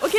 Okej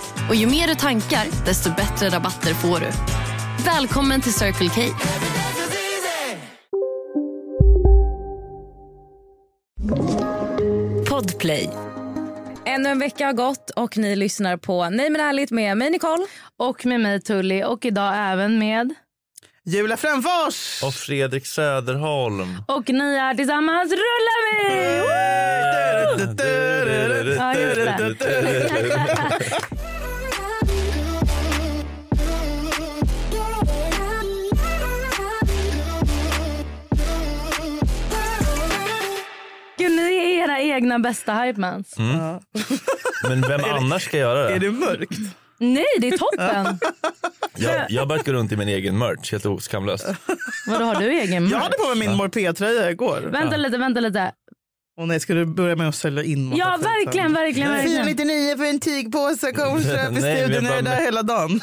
Och ju mer du tankar, desto bättre rabatter får du. Välkommen till Circle K. Podplay. Ännu en vecka har gått och ni lyssnar på Nej men ärligt med mig Nicole. Och med mig Tully och idag även med... Julia Fränfors! Och Fredrik Söderholm. Och ni är tillsammans Rulla mig! Ja, just det. Gud, ni är era egna bästa hypemans. Men vem annars ska göra Är det? det mörkt? Nej, det är toppen! Jag, jag har börjat gå runt i min egen merch, helt oskamlöst. Vadå, har du egen Jag hade på mig min Morpé-tröja igår. Vänta lite, vänta lite. Åh nej, ska du börja med att sälja in massa Ja, skit här? verkligen, verkligen, verkligen. 499 för en tygpåse, kom och köp i Nej, men studion, jag jag är bara- där hela dagen.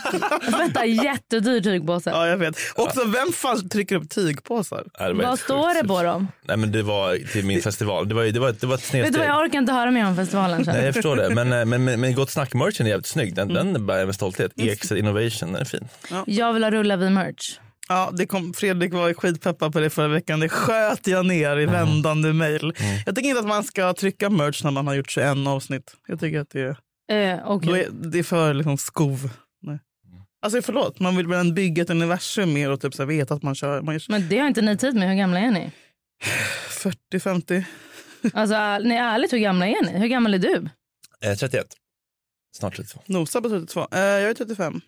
Vänta, jättedyr tygbåse. ja, jag vet. Också, vem fan trycker upp tygpåsar? Ja, det var Vad helt står sjukt. det på dem? Nej, men det var till min festival. Det var, ju- det var, det var ett Vet snedsteg. du vad, jag orkar inte höra mer om festivalen sen. Nej, jag förstår det. Men, eh, men, men, men Gott snack-merchen är jävligt snygg. Den, den bär jag med stolthet. EX Innovation, den är fin. Jag vill ha rulla vid merch. Ja, det kom, Fredrik var skitpeppad på det förra veckan. Det sköt jag ner Mm. i vändande mejl. Jag tycker inte att man ska trycka merch när man har gjort 21 avsnitt. Jag tycker att det är, Eh, okej. då är, det är för liksom skov. Nej. Alltså förlåt, man vill väl bygga ett universum mer och typ så här veta att man kör. Man är Men det har inte ni tid med. Hur gamla är ni? 40-50. Alltså, är- nej, ärligt, hur gamla är ni? Hur gammal är du? Eh, 31. Snart 32. Nosa på 32. Eh, jag är 35.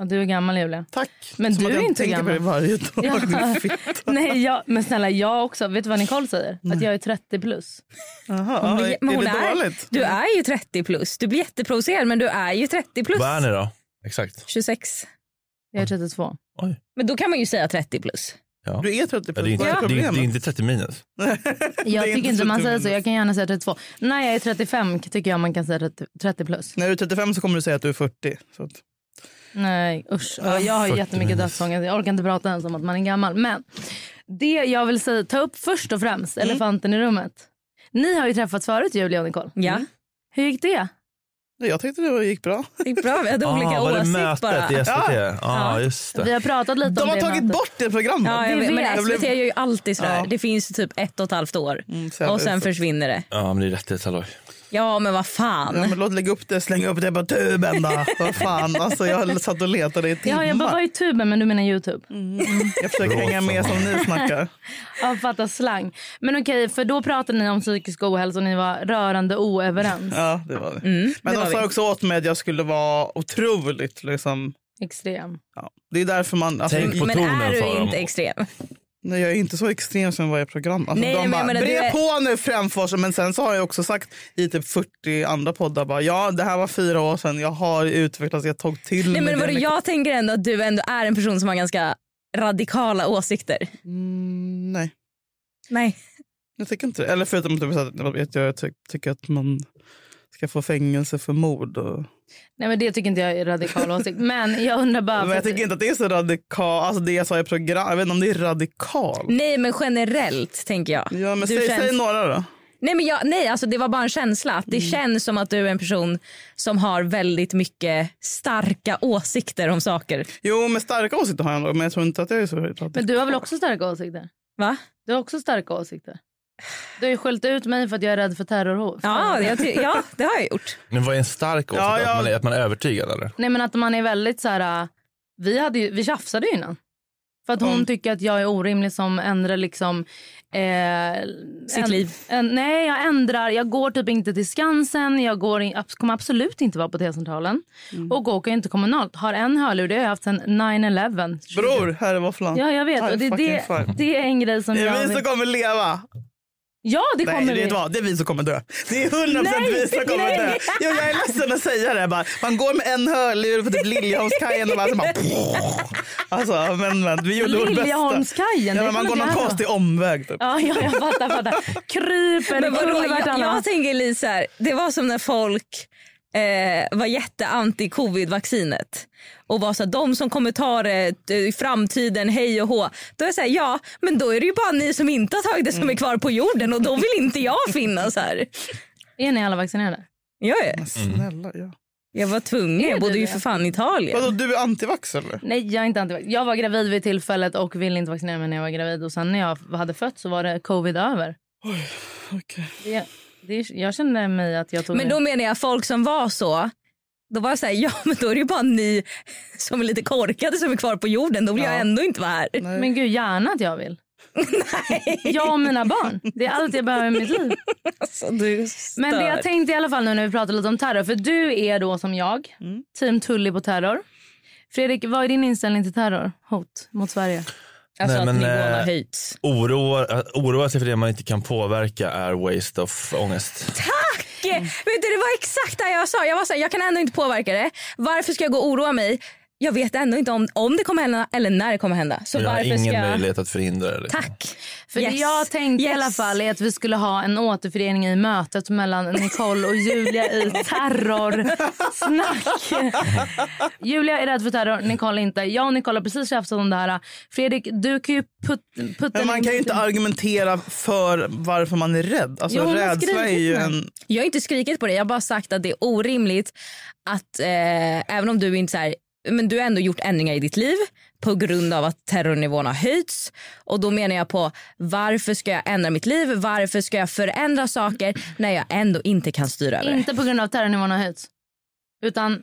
Ja, du är gammal, Julia. Tack. Men Som du att är jag inte tänker gammal. på det varje dag. Ja. Din fitta. Nej, jag, men snälla, jag också. Vet du vad Nicole säger? Att jag är 30 plus. Jaha, blir- är, men hon det är- dåligt? Du är ju 30 plus. Du blir jätteprovocerad men du är ju 30 plus. Vad är ni då? Exakt. 26. Jag är 32. Oj. Men då kan man ju säga 30 plus. Ja. Du är 30 Ja, det, är plus, inte, vad är det, är, problemet? det är inte 30 minus. Jag Det är tycker inte man säger så. minus. Jag kan gärna säga 32. När jag är 35 tycker jag man kan säga 30 30 plus. När du är 35 så kommer du säga att du är 40. Så att... Nej, usch. Ja, jag har 40 jättemycket minus. dödsångest. Jag orkar inte prata ens om att man är gammal. Men det jag vill säga, ta upp först och främst elefanten i rummet. Ni har ju träffats förut, Julia och Nicole. Ja, Hur gick det? Jag tyckte det gick bra. det är bra. Vi hade olika Ah, var det åsikt mötet bara. i SVT? Ja, ah, just Vi det. har pratat lite om De har det tagit mötet. bort det programmet. Ja, jag Vi vet. vet. Men SVT gör ju alltid sådär. Ja. Det finns ju typ ett och ett halvt år Mm, så jävla och sen uselt. försvinner det. Ja, men det är rättighetsalloj. Ja, men vad fan. Ja, men låt lägga upp det, slänga upp det på tuben då. Vad fan, alltså jag satt och letade i timmar. Ja, jag bara, vad är tuben? Men du menar Youtube? Jag försöker hänga med som ni snackar. Jag fattar slang. Men okej, för då pratade ni om psykisk ohälsa och ni var rörande oöverens. Ja, det var det. men de sa också åt mig att jag skulle vara otroligt liksom. Extrem. Ja. Det är därför man, alltså, Tänk på Men tonen är sa du de. inte extrem? nej, jag är inte så extrem som varje program. Alltså, Nej, de men jag bara, menar, du bre är- på nu Främfors. Men sen så har jag också sagt i typ 40 andra poddar bara, ja det här var fyra år sedan, jag har utvecklats, jag tog till Nej, mig men det vadå, mycket. jag tänker ändå att du ändå är en person som har ganska radikala åsikter. Mm, nej. Nej. Jag tycker inte det. Eller förutom typ, så att jag, vet, jag ty tycker att man ska få fängelse för mord. Och... Nej, men det tycker inte jag är radikal åsikt. Men jag undrar bara... Men jag tycker inte att det är så radikalt. Alltså det jag sa i program, jag vet inte om det är radikalt. Nej, men generellt tänker jag. Ja, men Du säg, känns- säg några då. Nej, men jag, nej alltså det var bara en känsla. Att det Mm. känns som att du är en person som har väldigt mycket starka åsikter om saker. Jo, men starka åsikter har jag nog, men jag tror inte att jag är så radikal. Men du har väl också starka åsikter? Va? Du har också starka åsikter. Du har ju skällt ut mig för att jag är rädd för terrorhot. Ja, jag ty- ja, det har jag gjort. Men vad är en stark åsikt? Ja, ja. Att, man är, att man är övertygad eller? Nej men att man är väldigt så här... äh, Vi, hade ju, vi tjafsade ju innan. För att hon tycker att jag är orimlig som ändrar liksom... Eh, Sitt liv. En, nej, jag ändrar. Jag går typ inte till Skansen. Jag går in, abs- kommer absolut inte vara på T-centralen. Och åker inte kommunalt. Har en hörlur. Det har jag haft sedan 9-11. Bror, här är våfflan. Ja, jag vet. I'm Och det, fucking det, fine. det är en grej som Det jag... är vi som kommer leva. Ja, det kommer Nej, det, vi. är vad, det är vi som kommer dö. Det är hundra procent Nej, vi som kommer dö. nej. Jo, jag är ledsen att säga det. Bara, man går med en hörlur på typ Liljeholmskajen och bara... Så bara alltså, men, men, vi gjorde vårt bästa. Liljeholmskajen. det Ja, men man kommer inte går någon jag konstig omväg. Typ. Ja, ja, jag fattar. fattar. Kryper, Men vadå, kulvert, jag, alla. jag tänker Lisa, här, det var som när folk eh, var jätteanti covid-vaccinet och var så här, de som kommer ta det eh, i framtiden, hej och hå. Då är jag så här, ja men då är det ju bara ni som inte har tagit det som är kvar på jorden och då vill inte jag finnas här. Är ni alla vaccinerade? Jag, är, Snälla, ja. jag var tvungen, jag bodde ju för fan i Italien. Vadå, du är antivax eller? Nej, jag är inte antivax. Jag var gravid vid tillfället och ville inte vaccinera mig när jag var gravid. Och sen när jag hade fött så var det covid över. Okej. Det, det, jag kände mig att jag tog Men det. då menar jag folk som var så. Då var jag så här, ja men då är det ju bara ni som är lite korkade som är kvar på jorden. Då vill jag ändå inte vara här. Men gud, gärna att jag vill. Nej. Jag och mina barn. Det är allt jag behöver i mitt liv. Alltså, du Men det jag stör. tänkte i alla fall nu när vi pratar lite om terror. För du är då som jag, Mm. team Tully på terror. Fredrik, vad är din inställning till terror? Hot mot Sverige? Alltså Nej, att men, nivån har eh, höjts. Oroa, att oroa sig för det man inte kan påverka är waste of ångest. Tack! Mm. Vet du, det var exakt det jag sa. Jag var så här, jag kan ändå inte påverka det. Varför ska jag gå och oroa mig? Jag vet ändå inte om, om det kommer hända eller när det kommer hända. Så Jag har varför ingen ska jag... möjlighet att förhindra det. liksom. Tack! För Yes. det jag tänkte i Yes. alla fall är att vi skulle ha en återförening i mötet mellan Nicole och Julia i terrorsnack. Julia är rädd för terror, Nicole inte. Jag och Nicole har precis tjafsat om det här. Fredrik, du kan ju put- putta... Men man kan ju inte argumentera för varför man är rädd. Alltså, Jo, hon har rädsla är skrikit mig. ju en... Jag har inte skrikit på det. Jag har bara sagt att det är orimligt att eh, även om du inte så här, men du har ändå gjort ändringar i ditt liv på grund av att terrornivån har höjts. Och då menar jag på varför ska jag ändra mitt liv? Varför ska jag förändra saker när jag ändå inte kan styra över det? Inte på grund av att terrornivån har höjts. Utan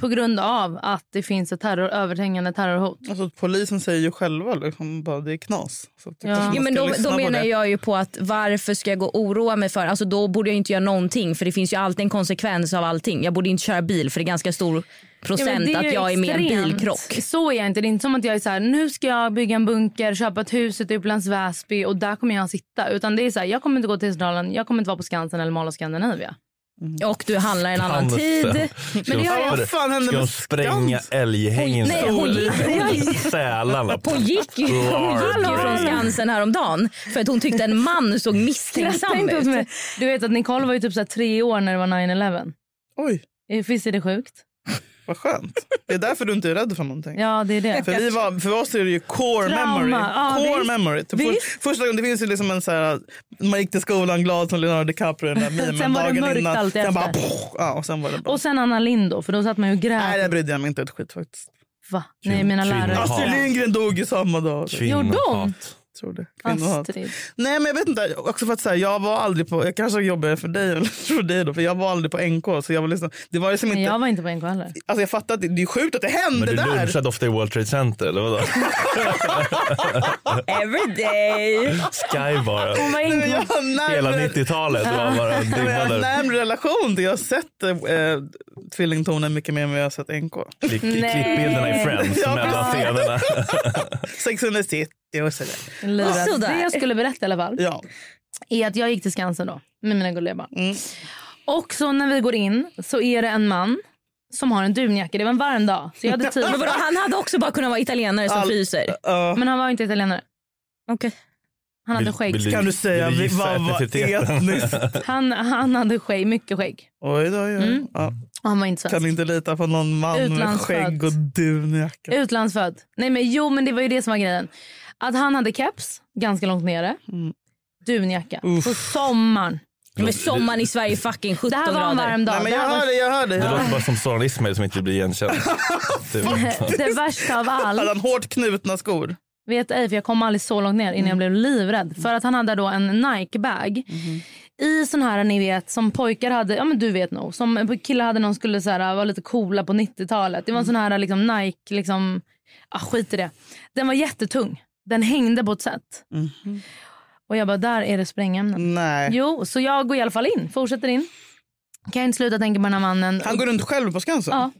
på grund av att det finns ett terror, överhängande terrorhot. Alltså, polisen säger ju själva liksom, bara, det är knas. Så att det Ja. kanske man Jo, men ska då, lyssna då på menar det. jag ju på att varför ska jag gå och oroa mig för? Alltså då borde jag inte göra någonting för det finns ju alltid en konsekvens av allting. Jag borde inte köra bil för det är ganska stor Ja, men procent det är att ju jag är med i en extremt. bilkrock. Så är jag inte. Det är inte som att jag är så här, nu ska jag bygga en bunker, köpa ett hus ute i Upplands Väsby och där kommer jag sitta. Utan det är så här, jag kommer inte gå till Centralen, jag kommer inte vara på Skansen eller Mall of Scandinavia. Mm. Och du handlar en annan tid. Men det har jag- Vad fan hände Ska de med spränga älghängen? Hon- nej, hon gick- Sälarna. Hon gick ju, hon gick ju från Skansen häromdagen för att hon tyckte en man såg misstänksam Tänk åt mig. ut. Du vet att Nicole var ju typ så här tre år när det var 9-11. Oj, Eh, Visst är det sjukt? vad skönt. Det är därför du inte är rädd för någonting. Ja, det är det. För, vi var, för oss är det ju core Trauma. memory. Ja, core visst. memory. Typ Visst. för, första gången det finns ju liksom en så här, man gick till skolan glad som Leonardo DiCaprio den där memen Sen var det dagen mörkt innan. alltid sen bara, efter. poff, ja, och sen var det bra. Och sen Anna Lindh då, för då satt man ju och Nej, det grät. brydde jag mig inte ett skit faktiskt. Va? Nej, mina Kvinna- lärare. Jaha. Astrid Lindgren dog ju samma dag. Kvinnohat. Gjorde Tror det. Kvinnohat. Astrid. Nej men jag vet inte, också för att så här, jag var aldrig på, jag kanske jobbar för dig eller för dig då, för jag var aldrig på NK så jag var liksom, det var liksom Men inte, jag jag... var inte på NK heller. alltså jag fattar att det, det är sjukt att det hände Men du där. lunchade ofta i World Trade Center eller vadå? Every day. Sky bara. Hon var Men inte Jag har närmare, Hela 90-talet var bara en men jag har byggnad. där. närmare relation till, jag har sett eh, Tvillingtonen mycket mer än vad jag har sett NK. Klick, klippbilderna i Friends Ja, mellan scenerna. 690 och sådär. lurat. Sådär. Det jag skulle berätta i alla fall. Ja. är att jag gick till Skansen då med mina gulliga barn. Mm. Och så när vi går in så är det en man som har en dunjacka. Det var en varm dag. Så jag hade typ- tid. Men vadå, han hade också bara kunnat vara italienare som All- fryser. Ja. Men han var inte italienare. Okej. Han hade Vill- skägg. vill kan du säga vill du vi- gissa vad var etniciteten? etniskt? Han, han hade skägg, mycket skägg. Oj då, oj, oj. Mm. Ja. Och han var inte Kan svensk. inte lita på någon man med Utlandsfödd. skägg och dunjacka. Utlandsfödd. Nej men jo men det var ju det som var grejen. Att han hade keps ganska långt nere. Mm. Dunjacka. På sommaren. Men sommaren i Sverige är fucking 17 Det här var en grader. varm dag. Nej, men Det jag här var- hör det, jag hör det. Det Jag låter bara som Soran Ismail som inte vill bli igenkänd. Typ. det värsta av allt. Hade han hårt knutna skor? Vet ej, för jag kom aldrig så långt ner innan jag blev livrädd. För att han hade då en Nike-bag. I sån här ni vet som pojkar hade, ja men du vet nog. Som killar hade någon skulle så här, vara lite coola på 90-talet. Det var en sån här liksom Nike liksom Ah, skit i det. Den var jättetung. Den hängde på ett sätt. Och jag bara, där är det Mm. sprängämnen. Nej. Jo, så jag går i alla fall in. Fortsätter in. Kan jag inte sluta tänka på den här mannen. Han går runt själv på Skansen? Ja.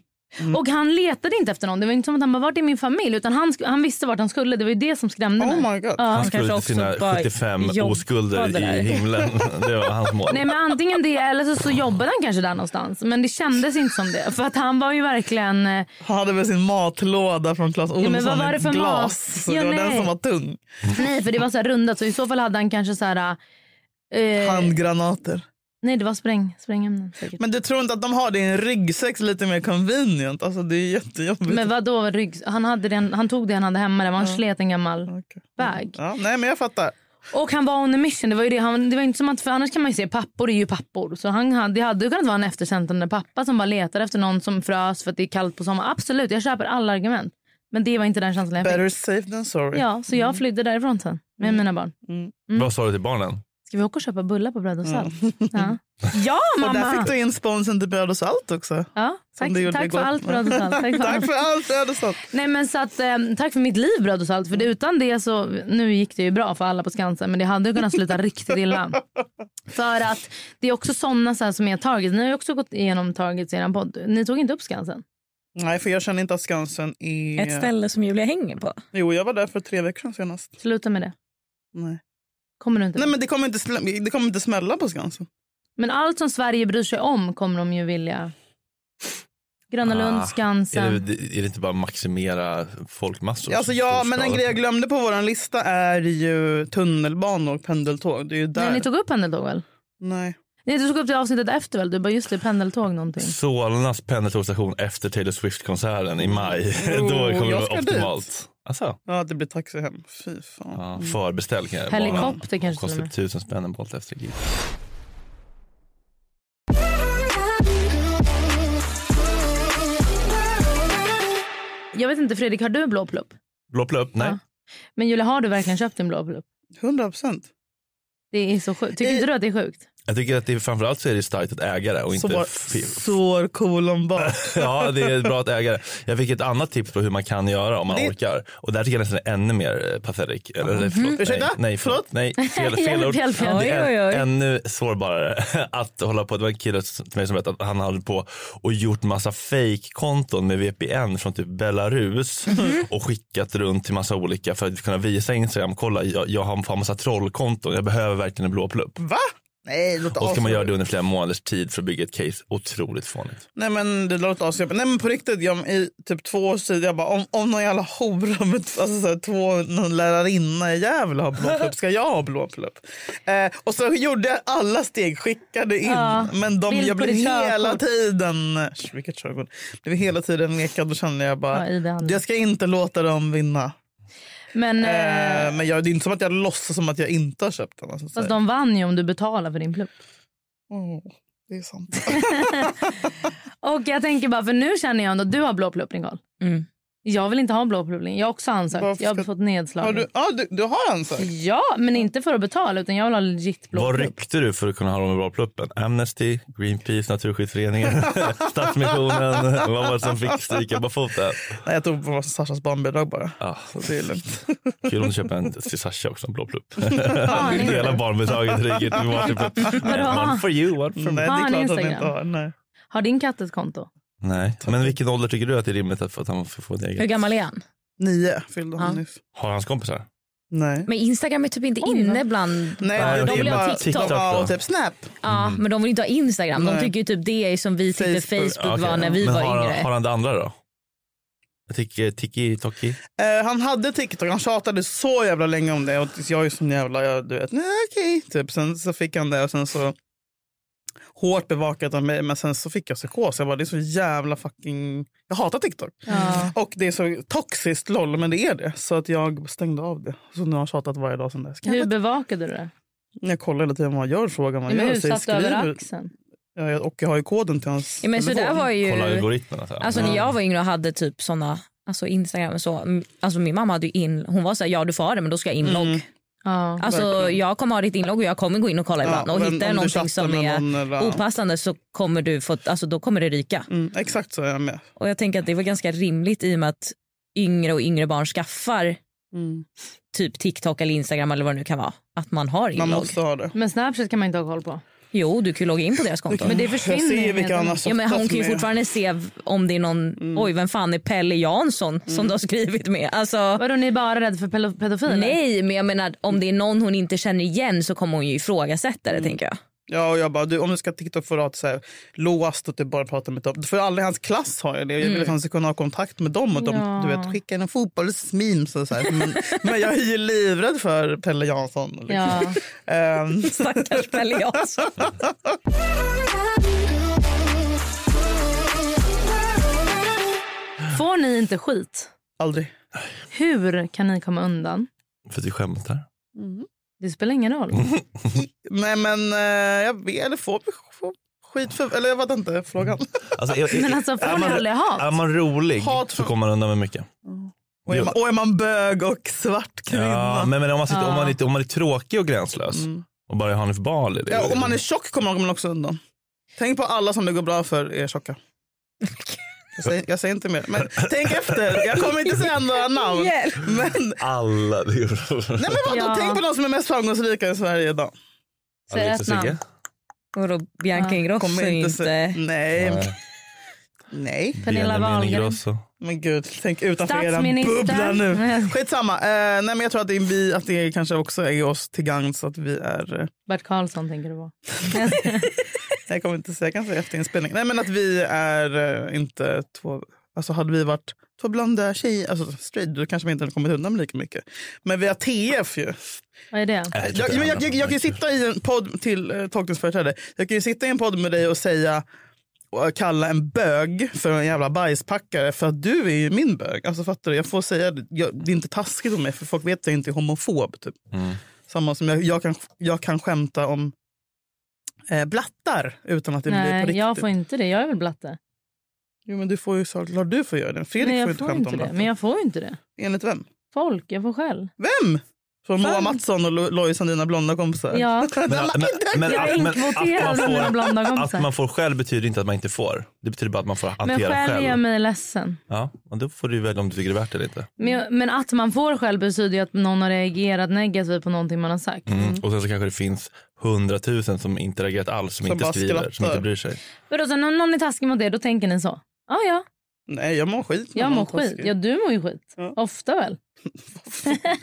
Mm. Och han letade inte efter någon. Det var inte som att han bara, vart är min familj? Utan han, sk- han visste vart han skulle. Det var ju det som skrämde mig. Oh my god. Han Ja. skulle till kanske sina också bara 75 jobbade oskulder där. i himlen. Det var hans mål. Nej men antingen det eller så, så jobbade han kanske där någonstans. Men det kändes inte som det. För att han var ju verkligen... eh, Han hade väl sin matlåda från Clas Ohlson men vad var i det för glas. mat? Så Ja, det var den nej. som var tung. Nej för det var så här rundat. Så i så fall hade han kanske så här... eh, Handgranater. Nej det var spräng, sprängämnen säkert. Men du tror inte att de har det i en ryggsäck så lite mer convenient? Alltså det är jättejobbigt. Men vad då ryggs... Han, hade den, han tog det han hade hemma. Det var en slet en gammal Okej. bag. Ja, nej men jag fattar. Och han var on a mission. Det var ju det. Han, det var inte som att, för annars kan man ju se pappor är ju pappor. Så han, hade- det hade ju kunnat vara en eftersändande pappa som bara letar efter någon som frös för att det är kallt på sommaren. Absolut, jag köper alla argument. Men det var inte den känslan jag fick. Better safe than sorry. Ja, så jag flydde därifrån sen med Mm. mina barn. Vad sa du till barnen? Ska vi åka och köpa bullar på bröd och salt? Ja. ja, Och Mm. där mamma! fick du in sponsen till bröd och salt också. Ja, tack, Som du gjorde tack för igår. allt bröd och salt. Tack för Tack allt. för allt bröd och salt. Nej, men så att, eh, tack för mitt liv bröd och salt. För det, utan det så, nu gick det ju bra för alla på Skansen men det hade ju kunnat sluta riktigt illa. För att det är också sådana så här som är Target. Ni har ju också gått igenom Target i er podd. Ni tog inte upp Skansen. Nej för jag känner inte att Skansen är... Ett ställe som Julia hänger på. Jo jag var där för tre veckor sedan senast. Sluta med det. Nej. Kommer du inte? Nej men... men det kommer, inte slä- det kommer inte smälla på Skansen. allt allt som Sverige bryr sig om kommer de ju vilja. Gröna Ah, Lund, Är Skansen. det, är det inte bara maximera folkmassor? Alltså, ja, men en Storskala? grej jag glömde på vår lista är ju tunnelbanor och pendeltåg. Det är ju där. Nej, ni tog upp pendeltåg väl? Nej. Nej, du tog upp det avsnittet efter väl? Du bara just det, pendeltåg någonting. Solnas pendeltågsstation efter Taylor Swift-konserten i maj. Då kommer jag det ska vara dit. optimalt. Alltså, Ja, det blir taxi hem. Fy fan. ja, förbeställ kan jag Helikopter kanske till och Kostar med. tusen spänn en bolt efter gig. Jag vet inte Fredrik, har du en blå plupp? Blå plupp? Nej. Ja. Men Julia, har du verkligen köpt en blå plupp? 100 procent. Det är så sjukt. Tycker Eh, inte du att det är sjukt? Jag tycker att det är, framförallt så är det starkt att äga det och Så inte var f- sår kolon bak. Ja, det är bra att äga det. Jag fick ett annat tips på hur man kan göra om man Det- orkar. Och där tycker jag nästan det är ännu mer eh, pathetic. Eller, nej, förlåt, nej, Ursäkta? nej, förlåt. Nej, fel, fel Hjälp, ord. hjälp, hjälp. Det är Oj, oj, oj. ännu sårbarare att hålla på. Det var en kille som- till mig som berättade att han hade på och gjort massa fake-konton med VPN från typ Belarus och skickat runt till massa olika för att kunna visa Instagram. Kolla, jag, jag har har massa trollkonton. Jag behöver verkligen en blå plupp. Va? Nej, det låter Och ska asjobbigt. man göra det under flera månaders tid för att bygga ett case. Otroligt fånigt. Nej, men det låter asjobbigt. Nej, men på riktigt. Jag, I typ två år sedan, jag bara, om, om någon jävla hora med alltså, så här, två någon lärarinna i Gävle har blå plupp, ska jag ha blå plupp? Eh, och så gjorde jag alla steg, skickade in. Ja, men de, bild jag på blev ditt hela körkort. tiden... Sh, Vilket körkort? Blev hela tiden nekad. Då kände jag bara, Ja, i det andra. jag ska inte låta dem vinna. Men Eh, eh, men jag, det är inte som att jag låtsas som att jag inte har köpt den. Alltså, så fast här. de vann ju om du betalar för din plupp. Åh, det är sant. Och jag tänker bara, för nu känner jag ändå att du har blå plupp Nicole. Mm. Jag vill inte ha blå plupp längre. Jag har också ansökt. Varför Jag har ska- fått nedslag. Har du, ah, du, du har en sak? Ja, men inte för att betala utan jag vill ha legit blå Vad plupp. ryckte du för att kunna ha dem i bra pluppen? Amnesty, Greenpeace, Naturskyddsföreningen, Stadsmissionen. Vad var det som fick stryka på foten? Nej, jag tog på Sashas barnbidrag bara. Ah, Så det är lugnt. kul om du köper en till Sasha också, en blå plupp. Har ni Hela inte? barnbidraget rycker till varsin plupp. Nej, One for you, one for me. Nej, det Mm. Har är han klart att han Instagram? inte har. Nej. Har din katt ett konto? Nej. Men vilken ålder tycker du att det är rimligt att, för att han får få ett Hur eget? gammal är han? Nio fyllde han Ja. nyss. Har hans kompisar? Nej. Men Instagram är typ inte Oj, inne bland... Nej, Ja, de det är vill ha bara- TikTok. de- Ja, då. och typ Snap. Ja, men de vill inte ha Instagram. De Nej. tycker ju typ det är som vi tyckte Facebook. Facebook, Ja, okej. var när vi Men var har, yngre. har han det andra då? Jag tycker Tiki Toki. Eh, han hade TikTok. Han tjatade så jävla länge om det. Och tills jag är sån jävla... Jag, du vet, nej okej. Typ. Sen så fick han det och sen så... Hårt bevakat av mig, men sen så fick jag psykos. Jag bara, det är så jävla fucking... Jag hatar TikTok. Ja. Och det är så toxiskt, loll, men det är det. Så att jag stängde av det. Så nu har jag tjatat varje dag sen dess. Kan Hur jag- bevakade du det? Jag kollar hela tiden vad han gör, frågar vad Nej, han men gör. hur säger, satt du över skriver. axeln? Ja, jag- Och jag har ju koden till hans Ja, men så telefon. där var Kolla ju... algoritmerna. så här. Mm. Alltså Mm. när jag var yngre och hade typ såna alltså Instagram och så. m- Alltså min mamma hade ju in, hon var så här, ja du får ha det men då ska jag inlogg. Mm. Ja. Alltså verkligen. jag kommer ha ditt inlogg och jag kommer gå in och kolla ibland. Ja, och men om hittar jag du någonting chattar som med är någon eller- opassande så kommer du få, alltså då kommer det ryka. Mm, exakt så är jag med. Och jag tänker att det var ganska rimligt i och med att yngre och yngre barn skaffar Mm. typ TikTok eller Instagram eller vad det nu kan vara. Att man har Man inlogg. måste ha det. Men Snapchat kan man inte ha koll på. Jo, du kan ju logga in på deras konto. Men det Jag försvinner ser ju vilka med- Anna Sotta Ja, men hon som kan ju är. fortfarande se v- om det är någon, Mm. oj vem fan är Pelle Jansson som du har skrivit med. Alltså, Vadå, ni är bara rädda för pelo- pedofiler? nej men jag menar om det är någon hon inte känner igen så kommer hon ju ifrågasätta det Mm. tänker jag. Ja, och jag bara, du, om du ska ha TikTok får du ha ett så här låst och typ bara prata med dem. För alla i hans klass har ju det. Jag Mm. vill att han ska kunna ha kontakt med dem och de, Ja. du vet, skicka in en fotbollsmemes och så här. Men, men jag är ju livrädd för Pelle Jansson. Liksom. Ja. Ehm, Stackars Pelle Jansson. Får ni inte skit? aldrig. Hur kan ni komma undan? För att vi skämtar. Det spelar ingen roll. Nej, men eh, jag vet, eller får vi får skit för, eller jag vet inte frågan. Alltså, är, är, Men alltså, får är, ni man, aldrig hat? är man rolig Hat så för- kommer man undan med mycket. Och är, man, och är man bög och svart kvinna? Mm. Ja, Ja, Mm. men, men om, man sitter, Ja. om, man är, om man är tråkig och gränslös och bara är liksom Hanif Bali. det- om man är tjock kommer man också undan. Tänk på alla som det går bra för är tjocka. Jag säger, jag säger inte mer. Men tänk efter. Jag kommer inte säga några namn. Men Alla. Det är... Alltså, Nej men vadå, Ja. tänk på de som är mest framgångsrika i Sverige idag. Säg ett namn. Och då Bianca Ja. Ingrosso Kommer är ju inte se... Alltså inte... Nej. Nej. Nej. Eh, Pernilla Benjamin Wahlgren. Ingrosso. Men gud, tänk utanför eran Statsminister. bubbla nu. Skitsamma. Uh, nej men jag tror att det, är vi, att det kanske också är oss till gagn så att vi är... eh, Bert Karlsson tänker du på. jag kommer inte säga, jag kan säga efter inspelning. Nej men att vi är eh, inte två... Alltså hade vi varit två blonda tjejer, alltså straight, då kanske vi inte hade kommit undan med lika mycket. Men vi har TF ju. Vad är det? Nej, Jag, men jag, jag, jag kan ju sitta i en podd till eh, tolkningsföreträde. Jag kan ju sitta i en podd med dig och säga och kalla en bög för en jävla bajspackare för att du är ju min bög. Alltså fattar du? Jag får säga det. Jag, det är inte taskigt om mig för folk vet att jag inte är homofob. Typ. Mm. Samma som jag, jag, kan, jag kan skämta om eh, blattar utan att det blir på Nej, riktigt. jag får inte det. Jag är väl blatte? Jo men du får ju såklart du får göra det. Fredrik Nej, får jag inte får skämta inte om det. blattar. Men jag får ju inte det. Enligt vem? Folk, jag får skäll. Vem? Från Moa Fan. Mattsson och Lo- Lojsan, dina blonda kompisar? Ja. Men, men, men, Jag är att, men inkvoterad bland att, mina man får, blonda att kompisar. man får själv betyder inte att man inte får. Det betyder bara att man får hantera Men själv själv. gör mig ledsen. Ja, och då får du välja om du tycker det är värt det eller inte. Men, jag, men att man får själv betyder ju att någon har reagerat negativt på någonting man har sagt. Mm. Och sen så kanske det finns hundratusen som inte reagerat alls, som, Som inte bara skriver, som skrattar. inte bryr sig. Men då, så, när någon är taskig mot er, då tänker ni så. Ah, Ja, ja, Nej jag mår skit. när jag någon mår tar skit. skit. Ja, du mår ju skit. Ja. Ofta väl?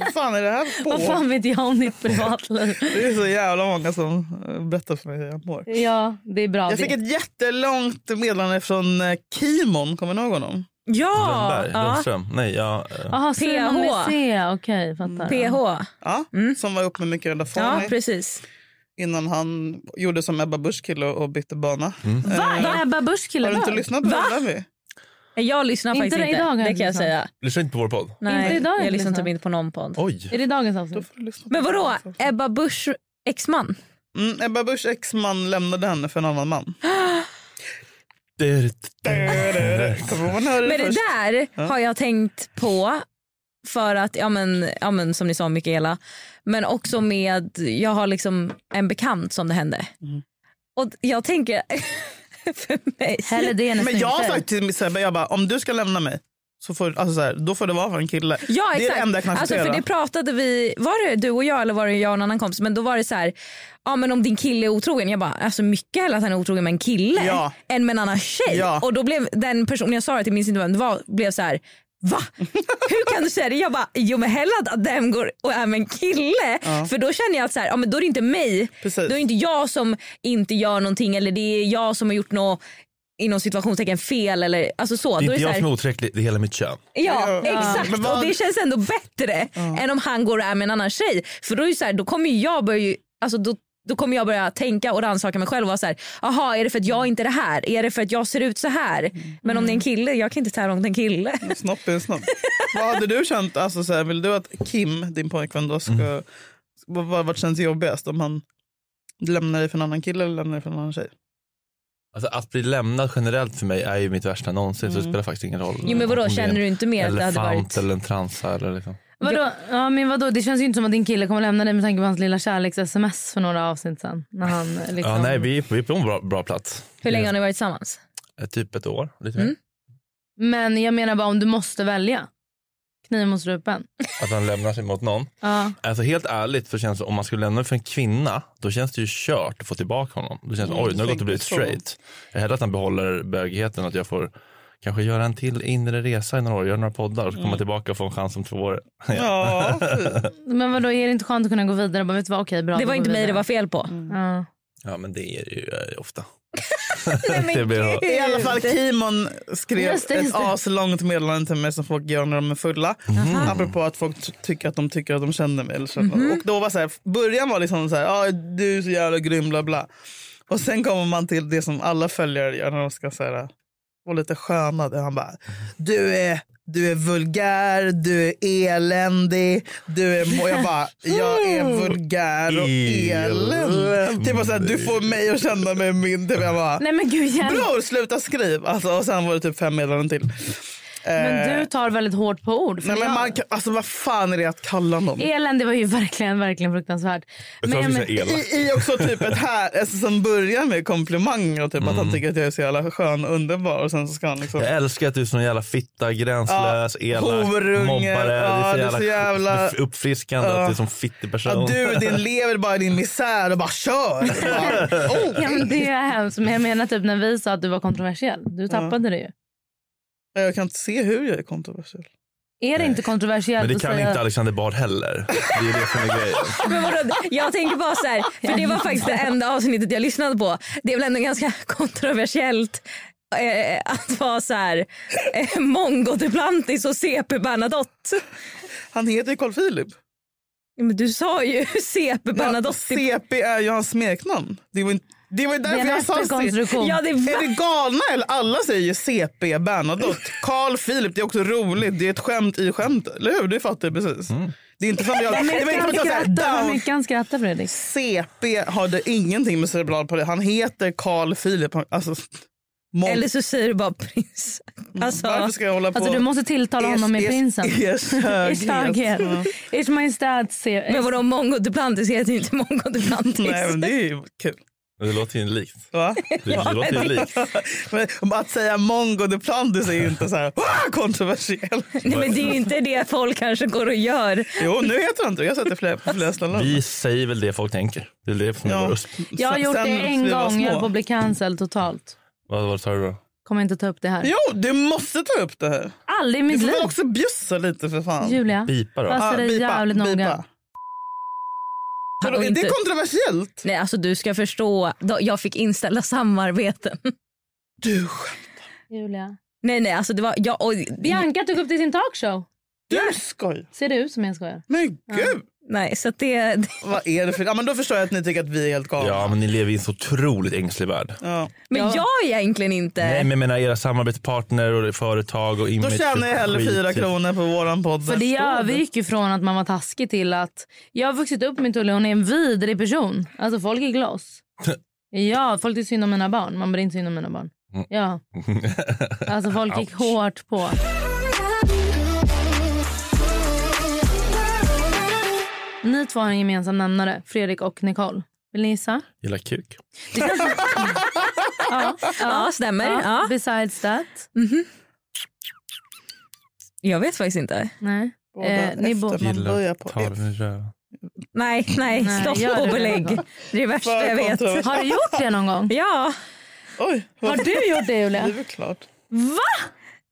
Vad fan är det här på? Vad fan vet jag om ditt privatliv? Det är så jävla många som eh, berättar för mig hur jag mår. ja, det är bra Jag fick det. ett jättelångt meddelande från eh, Kimon, kommer ni ihåg honom? Ja! Lundberg, ja. Lundström. Nej, ja. eh, Jaha, Simon PH. med C. Okej, fattar. PH. Ja, Som var ihop med Mikaela Mm. Ja, Forni precis. innan han gjorde som Ebba Busch kille och och bytte bana. Va? Var Ebba Busch kille Har du inte bög? lyssnat på den? Levi? Jag lyssnar Inte faktiskt det- inte. idag har det jag kan inte jag lyssnat. säga. Lyssnar inte på vår podd? Nej, Inte idag har jag jag lyssnar lyssnat. typ inte på någon podd. Är Oj. det dagens Då avsnitt? får du lyssna Men på vadå? den. Ebba Busch exman? Mm, Ebba Buschs exman lämnade henne för en annan man. Kommer man höra det Men det först? där har jag tänkt på för att, ja men, ja men som ni sa Mikaela, men också med, jag har liksom en bekant som det hände. Mm. Och jag tänker, för mig, Hellre det än ett Men jag har snyter. sagt till Miss Ebba, jag bara, om du ska lämna mig så får, alltså så här, då får det vara för en kille. Ja, det är det exakt. enda jag kan alltså, acceptera. för det pratade vi, var det du och jag eller var det jag och en annan kompis? Men då var det så här, ja men om din kille är otrogen. Jag bara, alltså mycket hellre att han är otrogen med en kille Ja. än med en annan tjej. Ja. Och då blev den personen jag sa det till, minns inte vem det var, blev så här. Va? Hur kan du säga det? Jag bara, jo men hellre att den går och är med en kille. För då känner jag att så här, ja, men då är det inte mig. Precis. Då är det inte jag som inte gör någonting eller det är jag som har gjort något inom situationstecken fel eller alltså så. Det är då inte så jag här- som är otillräcklig, det är hela mitt kön. Ja, Ja. exakt. Men vad- Och det känns ändå bättre än om han går och är med en annan tjej. För då, är det så här, då kommer ju jag börja, ju- alltså då, då kommer jag börja tänka och rannsaka mig själv och vara så här, aha är det för att jag inte är det här? Är det för att jag ser ut så här? Mm. Men om det är en kille, jag kan inte tävla mot en kille. Snopp är en snopp. Vad hade du känt? Alltså, så här, vill du att Kim, din pojkvän, då ska... Vad, vad vad känns jobbigast? Om han lämnar dig för en annan kille eller lämnar dig för en annan tjej? Alltså, att bli lämnad generellt för mig är ju mitt värsta någonsin så det spelar faktiskt ingen roll. Mm. Jo men vadå Om det är en känner du inte mer att det elefant hade varit... eller en transa eller liksom. Vadå? Ja, men vadå? Det känns ju inte som att din kille kommer lämna dig med tanke på hans lilla kärleks-sms för några avsnitt sen. När han eh, liksom... Ja, nej, vi, är på- vi är på en bra, bra plats. Hur länge har ni varit tillsammans? Mm. Eh, Typ ett år, lite mer. Men jag menar bara om du måste välja. Kniven mot strupen. Att han lämnar sig mot någon. Ja. Alltså helt ärligt, för känns det, om man skulle lämna för en kvinna, då känns det ju kört att få tillbaka honom. Då Mm, känns det, oj, nu har det gått och blivit så. straight. Jag hellre att han behåller bögigheten, att jag får kanske göra en till inre resa i några år, göra några poddar och så Mm. komma tillbaka och få en chans om två år. Ja, fy. Men vadå, är det inte skönt att kunna gå vidare? Bara, vet du vad, okej, bra, Det då var går inte vi mig det vidare. var fel på. Mm. Ja. Ja, men det är det ju eh, ofta. men det blir, I alla fall Kimon skrev Just det, ett just det. Mm-hmm. aslångt meddelande till mig som folk gör när de är fulla. Apropå att folk t- tycker att de tycker att de känner mig. Eller känner. Och då var så här, början var liksom så här, ah, du är så jävla grym bla bla. Och sen kommer man till det som alla följare gör när de ska så här, vara lite sköna. Där han bara, du är, du är vulgär, du är eländig. Du är, och jag bara, jag är Mm. vulgär och eländig. Typ så här, du får mig att känna mig min. Typ, jag bara, Nej men gud, jävlar. Bror sluta skriv! Alltså, och sen var det typ fem meddelanden till. Men du tar väldigt hårt på ord. För Nej, men jag- man, kan- alltså, vad fan är det att kalla någon? Elände var ju verkligen, verkligen fruktansvärt. jag tror att jag vi säger elak. I, I också typ ett här, alltså, som börjar med komplimanger och typ att han tycker att jag är så jävla skön och underbar och sen så ska han liksom... Jag älskar att du är sån jävla fitta, gränslös, Ja, elak, horunge. mobbare. Ja, det är så jävla uppfriskande Ja. att du är sån fittig person. Ja, du din lever bara i din misär och bara kör! Bara, oh. Ja, men det är hemskt. Men jag menar typ när vi sa att du var kontroversiell. Du tappade det ju. Jag kan inte se hur jag är kontroversiell. Är det inte Men kontroversiellt det att kan säga... inte Alexander Bard heller. Det är det som är grejen. Men vadå, jag tänker bara så här, för det var faktiskt det enda avsnittet jag lyssnade på. Det är väl ändå ganska kontroversiellt eh, att vara så här eh, Mongo Duplantis och CP Bernadotte. Han heter ju Carl Philip. Ja, Men du sa ju CP Bernadotte. CP är ju hans smeknamn. Det var, inte, det var ju Det därför är en jag sa CP. efterkonstruktion. Ja, det Är det galna eller? Alla säger ju CP Bernadotte. Carl Philip, det är också roligt. Det är ett skämt i skämt. Eller hur? Det fattar jag precis. Mm. Det är inte som jag... Det var inte som Han att jag sa skrattar. Vad down. mycket han skrattar Fredrik. CP hade ingenting med cerebral på det. Han heter Carl Philip. Han- Alltså, mon- Eller så säger du bara prins. Alltså, Mm. Varför ska jag hålla på... Alltså du måste tilltala honom med Ers- prinsen. Ers, ers Ers höghet. höghet. Ja. Ers majestät ser... men vadå Mongo Duplantis heter ju inte Mongo Duplantis. Nej, men det är ju kul. Det låter ju likt. Va? Det, det låter ju likt. Men att säga mongo de plantis är ju inte så här "Ah, kontroversiellt. Nej, men det är ju inte det folk kanske går och gör. Jo, nu heter han inte Jag har sett det flera, på flera ställen. Vi säger väl det folk tänker. Det är det som är Ja. vår Jag har Sen- gjort sen det en vi var gång. Jag höll små. på att bli cancelled totalt. Vad, vad tar du då? Kommer inte ta upp det här. Jo, du måste ta upp det här. Aldrig i Du mitt får liv. väl också bjussa lite för fan. Ah, Julia. Pipa då? Fast- Passa dig jävligt noga. Vadå, Och är inte- det kontroversiellt? Nej, alltså du ska förstå. då- Jag fick inställa samarbeten. Du, Julia. Nej, nej, alltså det var... Jag, och, Bianca tog upp det i sin talkshow. du skojar. Ser det ut som jag skojar? Men gud, nej, så att det, det... vad är det för... Ja, men då förstår jag att ni tycker att vi är helt galna. Ja, men ni lever i en så otroligt ängslig värld. Ja. Men jag är egentligen inte... Nej, men jag menar era samarbetspartner och företag och Då image. tjänar jag hellre Skit. typ. fyra kronor på våran podd. För det övergick ju från att man var taskig till att jag har vuxit upp med Tulle hon är en vidrig person. Alltså folk är gloss. Ja, folk tycker synd om mina barn. Man blir inte synd om mina barn. Mm. Ja, alltså folk gick hårt på. Ni två har en gemensam nämnare, Fredrik och Nicole. Vill ni gissa? Gillar kuk. Det kanske... ja, ja, Ja, stämmer. Ja. ja. Besides that. Jag vet faktiskt inte. Nej. Båda eh, ni efter bo- man börjar Gillar på. tar den i röven. Nej, nej, Nej, gör stopp det. och belägg. Det är det värsta För jag vet. kontrovers- Har du gjort det någon gång? Ja, Oj, vad... Har du gjort det det är Julia? väl klart.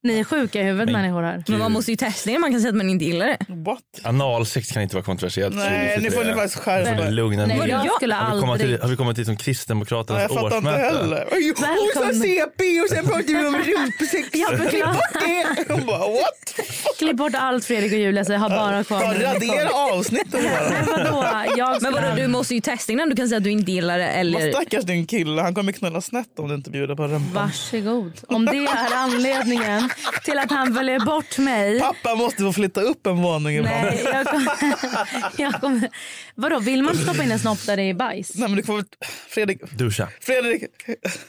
Ni är sjuka i huvudet människor här. men man måste ju testa innan man kan säga att man inte gillar det. What? Analsex kan inte vara kontroversiellt. Nej, nu får ni faktiskt skärpa Nej. er. Lugna Nej, ner jag er. skulle Har vi kommit till, aldrig- har vi kommit till som Kristdemokraternas Ja, jag fattar inte årsmöte? heller. Oj, Hon sa Välkommen. CP och sen pratar vi om rumpsex. Klipp bort det! Hon bara what? Klipp bort allt Fredrik och Julia så jag har bara kvar Ja, min radera lektion. avsnitten bara. Men vadå? Jag Men skulle vadå, du aldrig- måste ju testa innan du kan säga att du inte gillar det. Vad Eller... stackars din kille, han kommer knulla snett om du inte bjuder på rumpan. Varsågod. Om det är anledningen till att han väljer bort mig. Pappa måste få flytta upp en våning ibland. Nej. Nej, jag kommer, jag kommer, vadå, vill man stoppa in en snopp där det är bajs? men du får Fredrik, Duscha. Fredrik,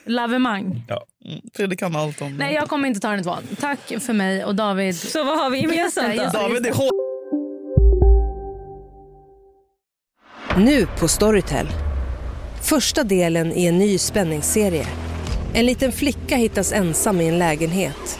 Lavemang. Fredrik kan allt om Nej, jag kommer inte ta den i tvåan. Tack för mig och David. Så vad har vi gemensamt Just det, då? just det. David är hård. Nu på Storytel. Första delen i en ny spänningsserie. En liten flicka hittas ensam i en lägenhet.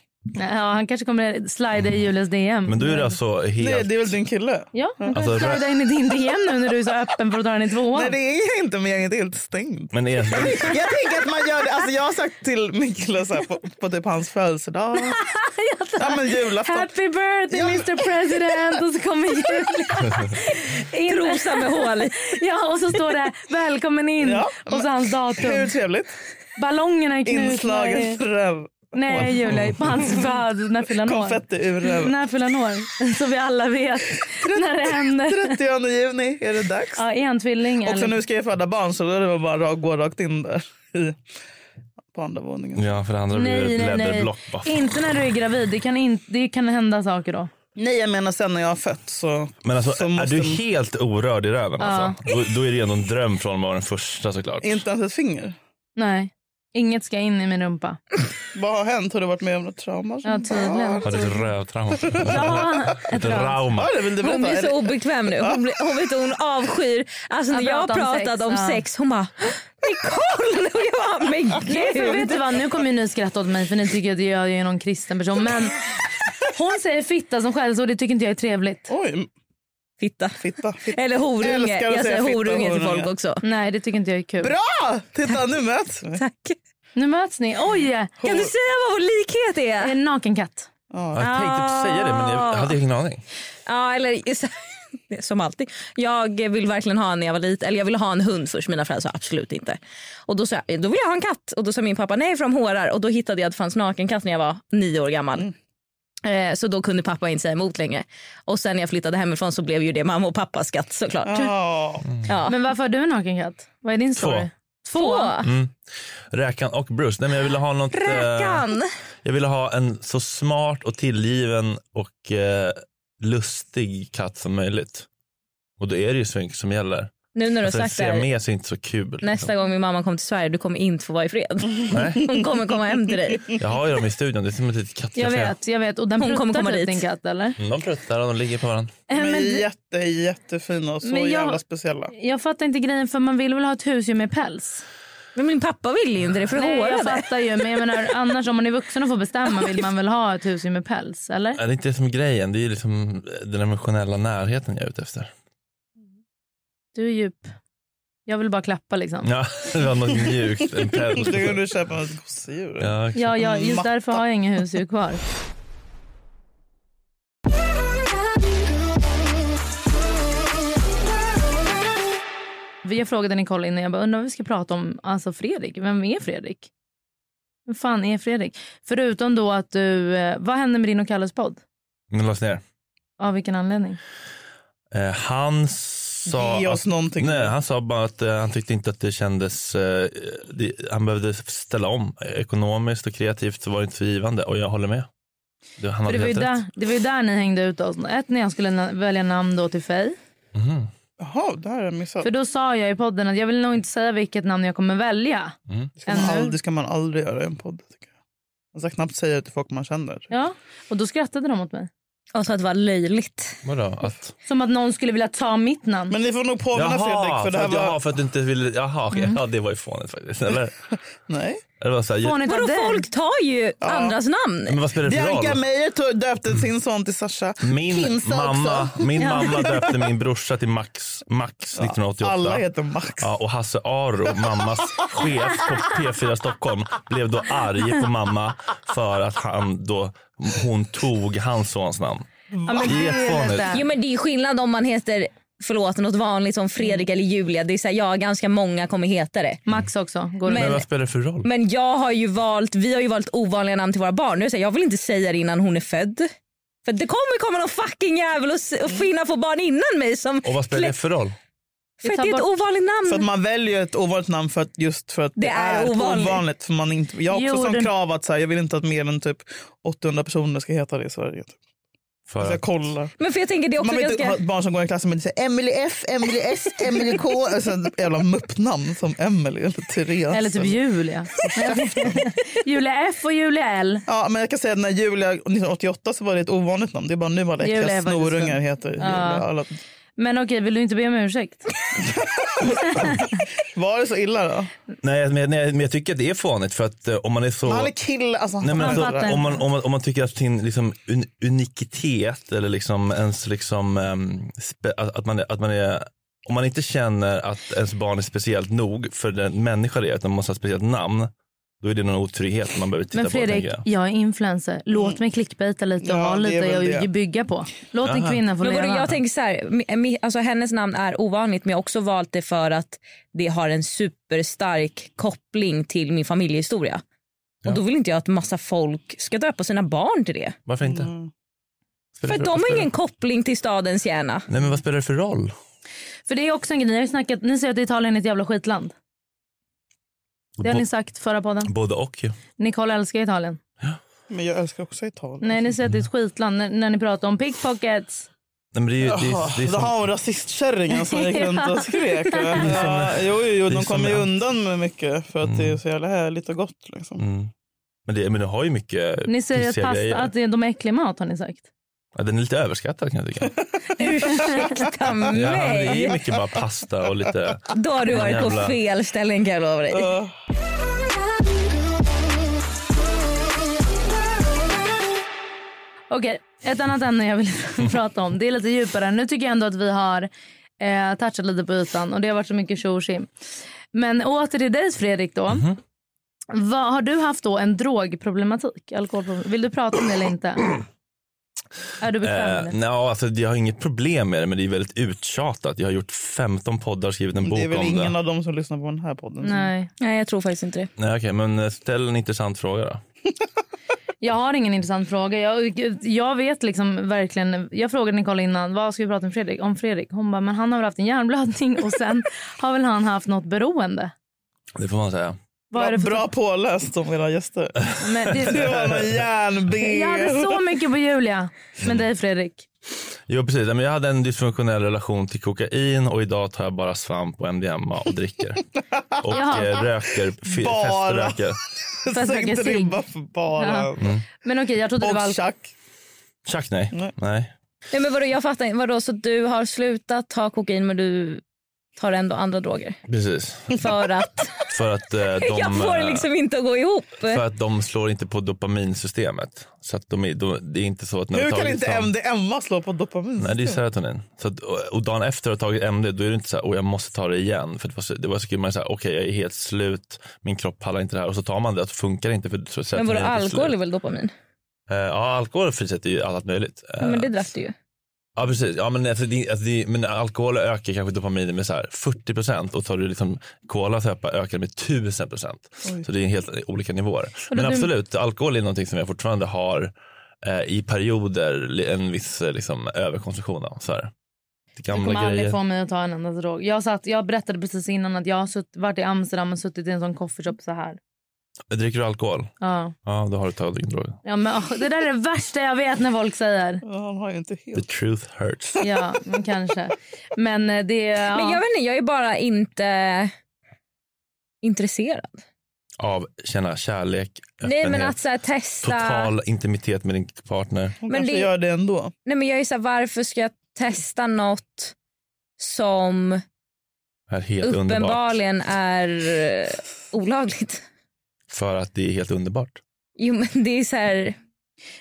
Ja, han kanske kommer slida i Julias DM. Men du är alltså Nej, helt... det är väl din kille? Ja, han kommer Alltså, slida in i din DM nu när du är så öppen för att dra den i tvåan. Nej, det är jag inte, men jag är inte helt stängd. Men är... Jag tänker att man gör det. Alltså, jag har sagt till min kille så här, på, på typ hans födelsedag. ja, men julafton. Happy birthday Ja, men- Mr President och så kommer Julia. in. Trosa med hål i. Ja och så står det välkommen in Ja, och så hans Hur datum. trevligt. Ballongerna är knutna. i- Inslagen röv. Nej Julia, på hans födelsedag. När fyller han år? Konfetti ur röven. När fyller han år? Så vi alla vet när det händer. 30 juni är det dags. Ja, är han tvilling? Också eller? nu ska jag föda barn så då är det väl bara att gå rakt in där i, på andra våningen. Ja, för det andra blir det Nej, ett nej, nej. läderblock. bara. Inte när du är gravid. Det kan, in, det kan hända saker då. Nej, jag menar sen när jag har fött så... Men alltså, så är måste- du helt orörd i röven? Alltså? Då, då är det ju ändå en dröm från att vara den första såklart. Inte ens ett finger. Nej. Inget ska in i min rumpa. Vad har hänt? Har du varit med om något trauma? Ja, tydligen. Har du ett rövtrauma? Ja, ett ras. Trauma. Ja, det vill du Hon berätta. blir så Eller- obekväm nu. Hon, blir, hon, vet, inte, hon avskyr. Alltså, när Jag jag har pratar om sex, pratat om ja. sex, hon bara “Nicole!” och jag bara “Men Nej, för vet gud!” du vad? Nu kommer ju ni skratta åt mig för ni tycker att jag är någon kristen person. Men hon säger fitta som skällsord. Det tycker inte jag är trevligt. Oj, Fitta. fitta. fitta. Eller horunge. Älskar att Jag säga säger fitta och horunge till folk horunge. också. Nej, det tycker inte jag är kul. Bra! Ah, Titta, nu möts vi. Tack. Nu möts ni. Oj! Kan du säga vad vår likhet är? En nakenkatt. Ja, Jag tänkte precis säga det men jag hade ingen aning. Ja, eller så- som alltid. Jag vill verkligen ha en när jag var liten. Eller jag ville ha en hund först. Mina föräldrar sa absolut inte. Och då sa jag, då vill jag ha en katt. Och då sa min pappa nej för de hårar. Och då hittade jag att det fanns nakenkatt när jag var nio år gammal. Mm. Eh, Så då kunde pappa inte säga emot längre. Och sen när jag flyttade hemifrån så blev ju det mamma och pappas katt såklart. Ja. Ja. Men varför har du en nakenkatt? Vad är din story? Två. Räkan och Bruce. Nej, men jag ville ha något... eh, Räkan! jag ville ha en så smart och tillgiven och eh, lustig katt som möjligt. Och då är det ju Svink som gäller. Nu när du har Alltså, sagt det ser här, med sig inte så kul. liksom. nästa gång min mamma kommer till Sverige, du kommer inte få vara i fred. Nej, Hon kommer komma hem till dig. jag har ju dem i studion. Det är som ett litet katt. Jag vet, jag vet. Och den Hon pruttar kommer komma typ dit. din katt eller? Eh, De pruttar och de ligger på varandra. De är jätte, jättefina och så Men jag- jävla speciella. Jag fattar inte grejen för man vill väl ha ett husdjur med päls? Men min pappa vill ju inte det för Nej, jag hårade. fattar ju. Men jag menar, annars om man är vuxen och får bestämma vill man väl ha ett husdjur med päls? Eller? Nej, Det är inte det som är grejen. Det är ju liksom den emotionella närheten jag är ute efter. Du är djup. Jag vill bara klappa liksom. Ja, det var något mjukt. En päls. Då kan du köpa ett gosedjur. Ja, exakt. Ja, ja, just Matta. därför har jag inga husdjur kvar. Jag frågade Nicole innan, jag bara, undrar vad vi ska prata om alltså Fredrik. Vem är Fredrik? Vem fan är Fredrik? Förutom då att du, eh, vad hände med din och Kalles podd? Den lades ner. Av vilken anledning? Eh, han sa... Ge att- oss någonting. Nej, han sa bara att eh, han tyckte inte att det kändes... Eh, det, han behövde ställa om. Eh, Ekonomiskt och kreativt så var det inte så givande. Och jag håller med. Du, han För hade det, var ju helt där, rätt. det var ju där ni hängde ut oss. Ett, när jag skulle na- välja namn då till Faye. Mhm. Jaha, det här har jag missat. För då sa jag i podden att jag vill nog inte säga vilket namn jag kommer välja. Det ska, man Ännu. aldrig, det ska man aldrig göra i en podd. Tycker jag. Man ska knappt säga det till folk man känner. Ja, och då skrattade de åt mig. Och så att det var löjligt. Vadå? Att, Som att någon skulle vilja ta mitt namn. Men ni får nog påminna Fredrik. jaha, För det här att, jaha, var... Mm. för att du inte ville... Jaha, okej. ja, det var ju fånigt faktiskt. Eller? Nej. Det var så här, Fånigt av Vadå dig. folk tar ju andras namn. men vad spelar det för Bianca roll? Meijer tog- döpte sin son till Sasha. Min Kinsa mamma, också. min mamma döpte min brorsa till Max, Max 1988. Alla heter Max. Ja, och Hasse Aro, mammas chef på P4 Stockholm, blev då arg på mamma för att han då hon tog hans sons namn. Ja, men det, Jättefånigt. är jo, men det är skillnad om man heter förlåt, något vanligt som Fredrik eller Julia. Det är så här, ja, ganska många kommer heta det. Max också. men, vad spelar det för roll? Men jag har ju valt, vi har ju valt ovanliga namn till våra barn. Nu säger jag vill inte säga det innan hon är född. För det kommer komma någon fucking jävel och, s- och finna få barn innan mig som... Och vad spelar det för roll? För att det är ett ovanligt namn. För att man väljer ett ovanligt namn för att, just för att det, Det är, är ovanligt. ovanligt. för man inte, jag har också Jo, som den- krav att så här, jag vill inte att mer än typ 800 personer ska heta det i Sverige. Typ. För Så jag att- kollar. Men för jag tänker det är också man vill inte ha ganska... ett barn som går i klassen med säger Emily F, Emily S, Emily K. Alltså ett jävla muppnamn som Emily eller Therese. Eller typ Julia. Julia F och Julia L. Ja, men jag kan säga att när Julia 1988 så var det ett ovanligt namn. Det är bara nu alla Julia äckliga är faktiskt snorungar en- heter Julia. Ja. Alla... Men okej, vill du inte be om ursäkt? Var det så illa då? Nej, men, nej, men jag tycker att det är fånigt för att eh, om man är så... Men han är kille. Alltså, Nej, men han alltså, fattar. om, man, om, man, om man tycker att sin liksom, un, unikitet eller liksom ens liksom, ehm, spe, att, att, man, är- att man är om man inte känner att ens barn är speciellt nog för den människa det är, utan man måste ha ett speciellt namn, då är det någon otrygghet man behöver titta Men på. Fredrik, tänker jag. jag är influencer. Låt mig clickbaita lite och Ja, ha det är väl lite det. att bygga på. Låt en Aha. kvinna få men vadå, leva. Jag tänker så här, mi- mi- alltså hennes namn är ovanligt men jag har också valt det för att det har en superstark koppling till min familjehistoria. Ja. Och då vill inte jag att massa folk ska döpa sina barn till det. Varför inte? Mm. Mm. För Spelar att det de vad har spelar- ingen koppling till stadens hjärna. Nej, men vad spelar det för roll? För det är också en grej. Ni, har ju snackat, ni säger att Italien är ett jävla skitland. Det har Bo- ni sagt förra podden. Både och ju. Nicole älskar Italien. Men jag älskar också Italien. Nej, ni säger att det är ett skitland när, när ni pratar om pickpockets. Nej, men det är ju, det, Jaha, är- det är det som, här var rasistkärringen som gick runt och skrek. Det är som- Ja, jo, jo, jo, det är de som kommer ju allt. undan med mycket för att det är så jävla härligt och gott. Liksom. mm. men, det, men det har ju mycket Ni säger att, pissiga pasta, grejer. att det- de är äcklig mat har ni sagt. Ja, den är lite överskattad kan jag tycka. Ursäkta mig. Ja, men det är ju mycket bara pasta och lite... Då har du varit Jävla- på fel ställen kan jag lova Mm. dig. Okej, ett annat ämne jag vill prata om. Det är lite djupare. Nu tycker jag ändå att vi har eh, touchat lite på ytan och det har varit så mycket tjo och tjim. Men åter till dig Fredrik då. Vad, har du haft då en drogproblematik? Alkoholproblematik? Vill du prata om det eller inte? är du bekväm med Eh, det? nej, alltså, jag har inget problem med det, men det är väldigt uttjatat. Jag har gjort 15 poddar, skrivit en bok Det är väl om ingen det. av dem som lyssnar på den här podden. som- Nej. Nej, jag tror faktiskt inte det. Nej, okej, men eh, ställ en intressant fråga då. Jag har ingen intressant fråga. Jag, jag vet liksom verkligen. Jag frågade Nicole innan, vad ska vi prata om Fredrik? Om Fredrik? Hon bara, men han har väl haft en hjärnblödning och sen har väl han haft något beroende? Det får man säga. Vad är det för- Bra påläst om era gäster. Men det... det- var någon järnben. Jag hade så mycket på Julia. Men dig Fredrik. Jo, precis. Nej, Men jag hade en dysfunktionell relation till kokain och idag tar jag bara svamp och MDMA och dricker. Och Jaha. eh, röker, fi- Bara. feströker. Fast jag Sänkt kan se. ribba för bara. Ja. Men okej, jag trodde det Och var... tjack. Tjack nej. nej. Nej, men vadå, jag fattar inte. Vadå, så du har slutat ta kokain men du tar ändå andra droger? Precis. För att För att, eh, de, jag får det eh, liksom inte att gå ihop. för att de slår inte på dopaminsystemet. Så att de, är- de, det är inte så att när du Hur kan tagit inte svamp- MDMA slå på dopamin? Nej, det är serotonin. Så att, och- och dagen efter att ha tagit MD, då är det inte så här, "Åh, jag måste ta det igen. För det var så, det var så kul, man är så här, okej, jag är helt slut, min kropp pallar inte det här. Och så tar man det och så funkar det inte. För så Men serotonin vadå, eh, är inte slut. alkohol är väl dopamin? Eh, ja, alkohol frisätter ju allt möjligt. Eh, Ja, men det drack du ju. Ja, precis. Ja, men, alltså, det, alltså, det, men alkohol ökar kanske dopaminet med så här 40 procent och tar du liksom cola så här, ökar det med 1000 procent. Oj. Så det är helt olika nivåer. då Men du- absolut, alkohol är någonting som jag fortfarande har eh, i perioder li- en viss eh, liksom, överkonsumtion av. Så här. Det Du gamla kommer aldrig grejer. få mig att ta en enda drog. Jag, satt, jag berättade precis innan att jag har sutt, varit i Amsterdam och suttit i en sån coffee shop så här. Dricker du alkohol? Ja. Ja, då har du tagit din drog. Ja, men, åh, det där är det värsta jag vet när folk säger. Han har ju inte The truth hurts. Ja, men kanske. Men eh, det... Ja. Men jag vet inte, jag är bara inte intresserad. Av känna kärlek, Nej men alltså, öppenhet, att så här, testa. total intimitet med din partner. Men kanske det- gör det ändå. Nej men jag är så här, varför ska jag testa något som Är helt underbart. uppenbarligen är eh, olagligt? För att det är helt underbart. Jo men det är så här...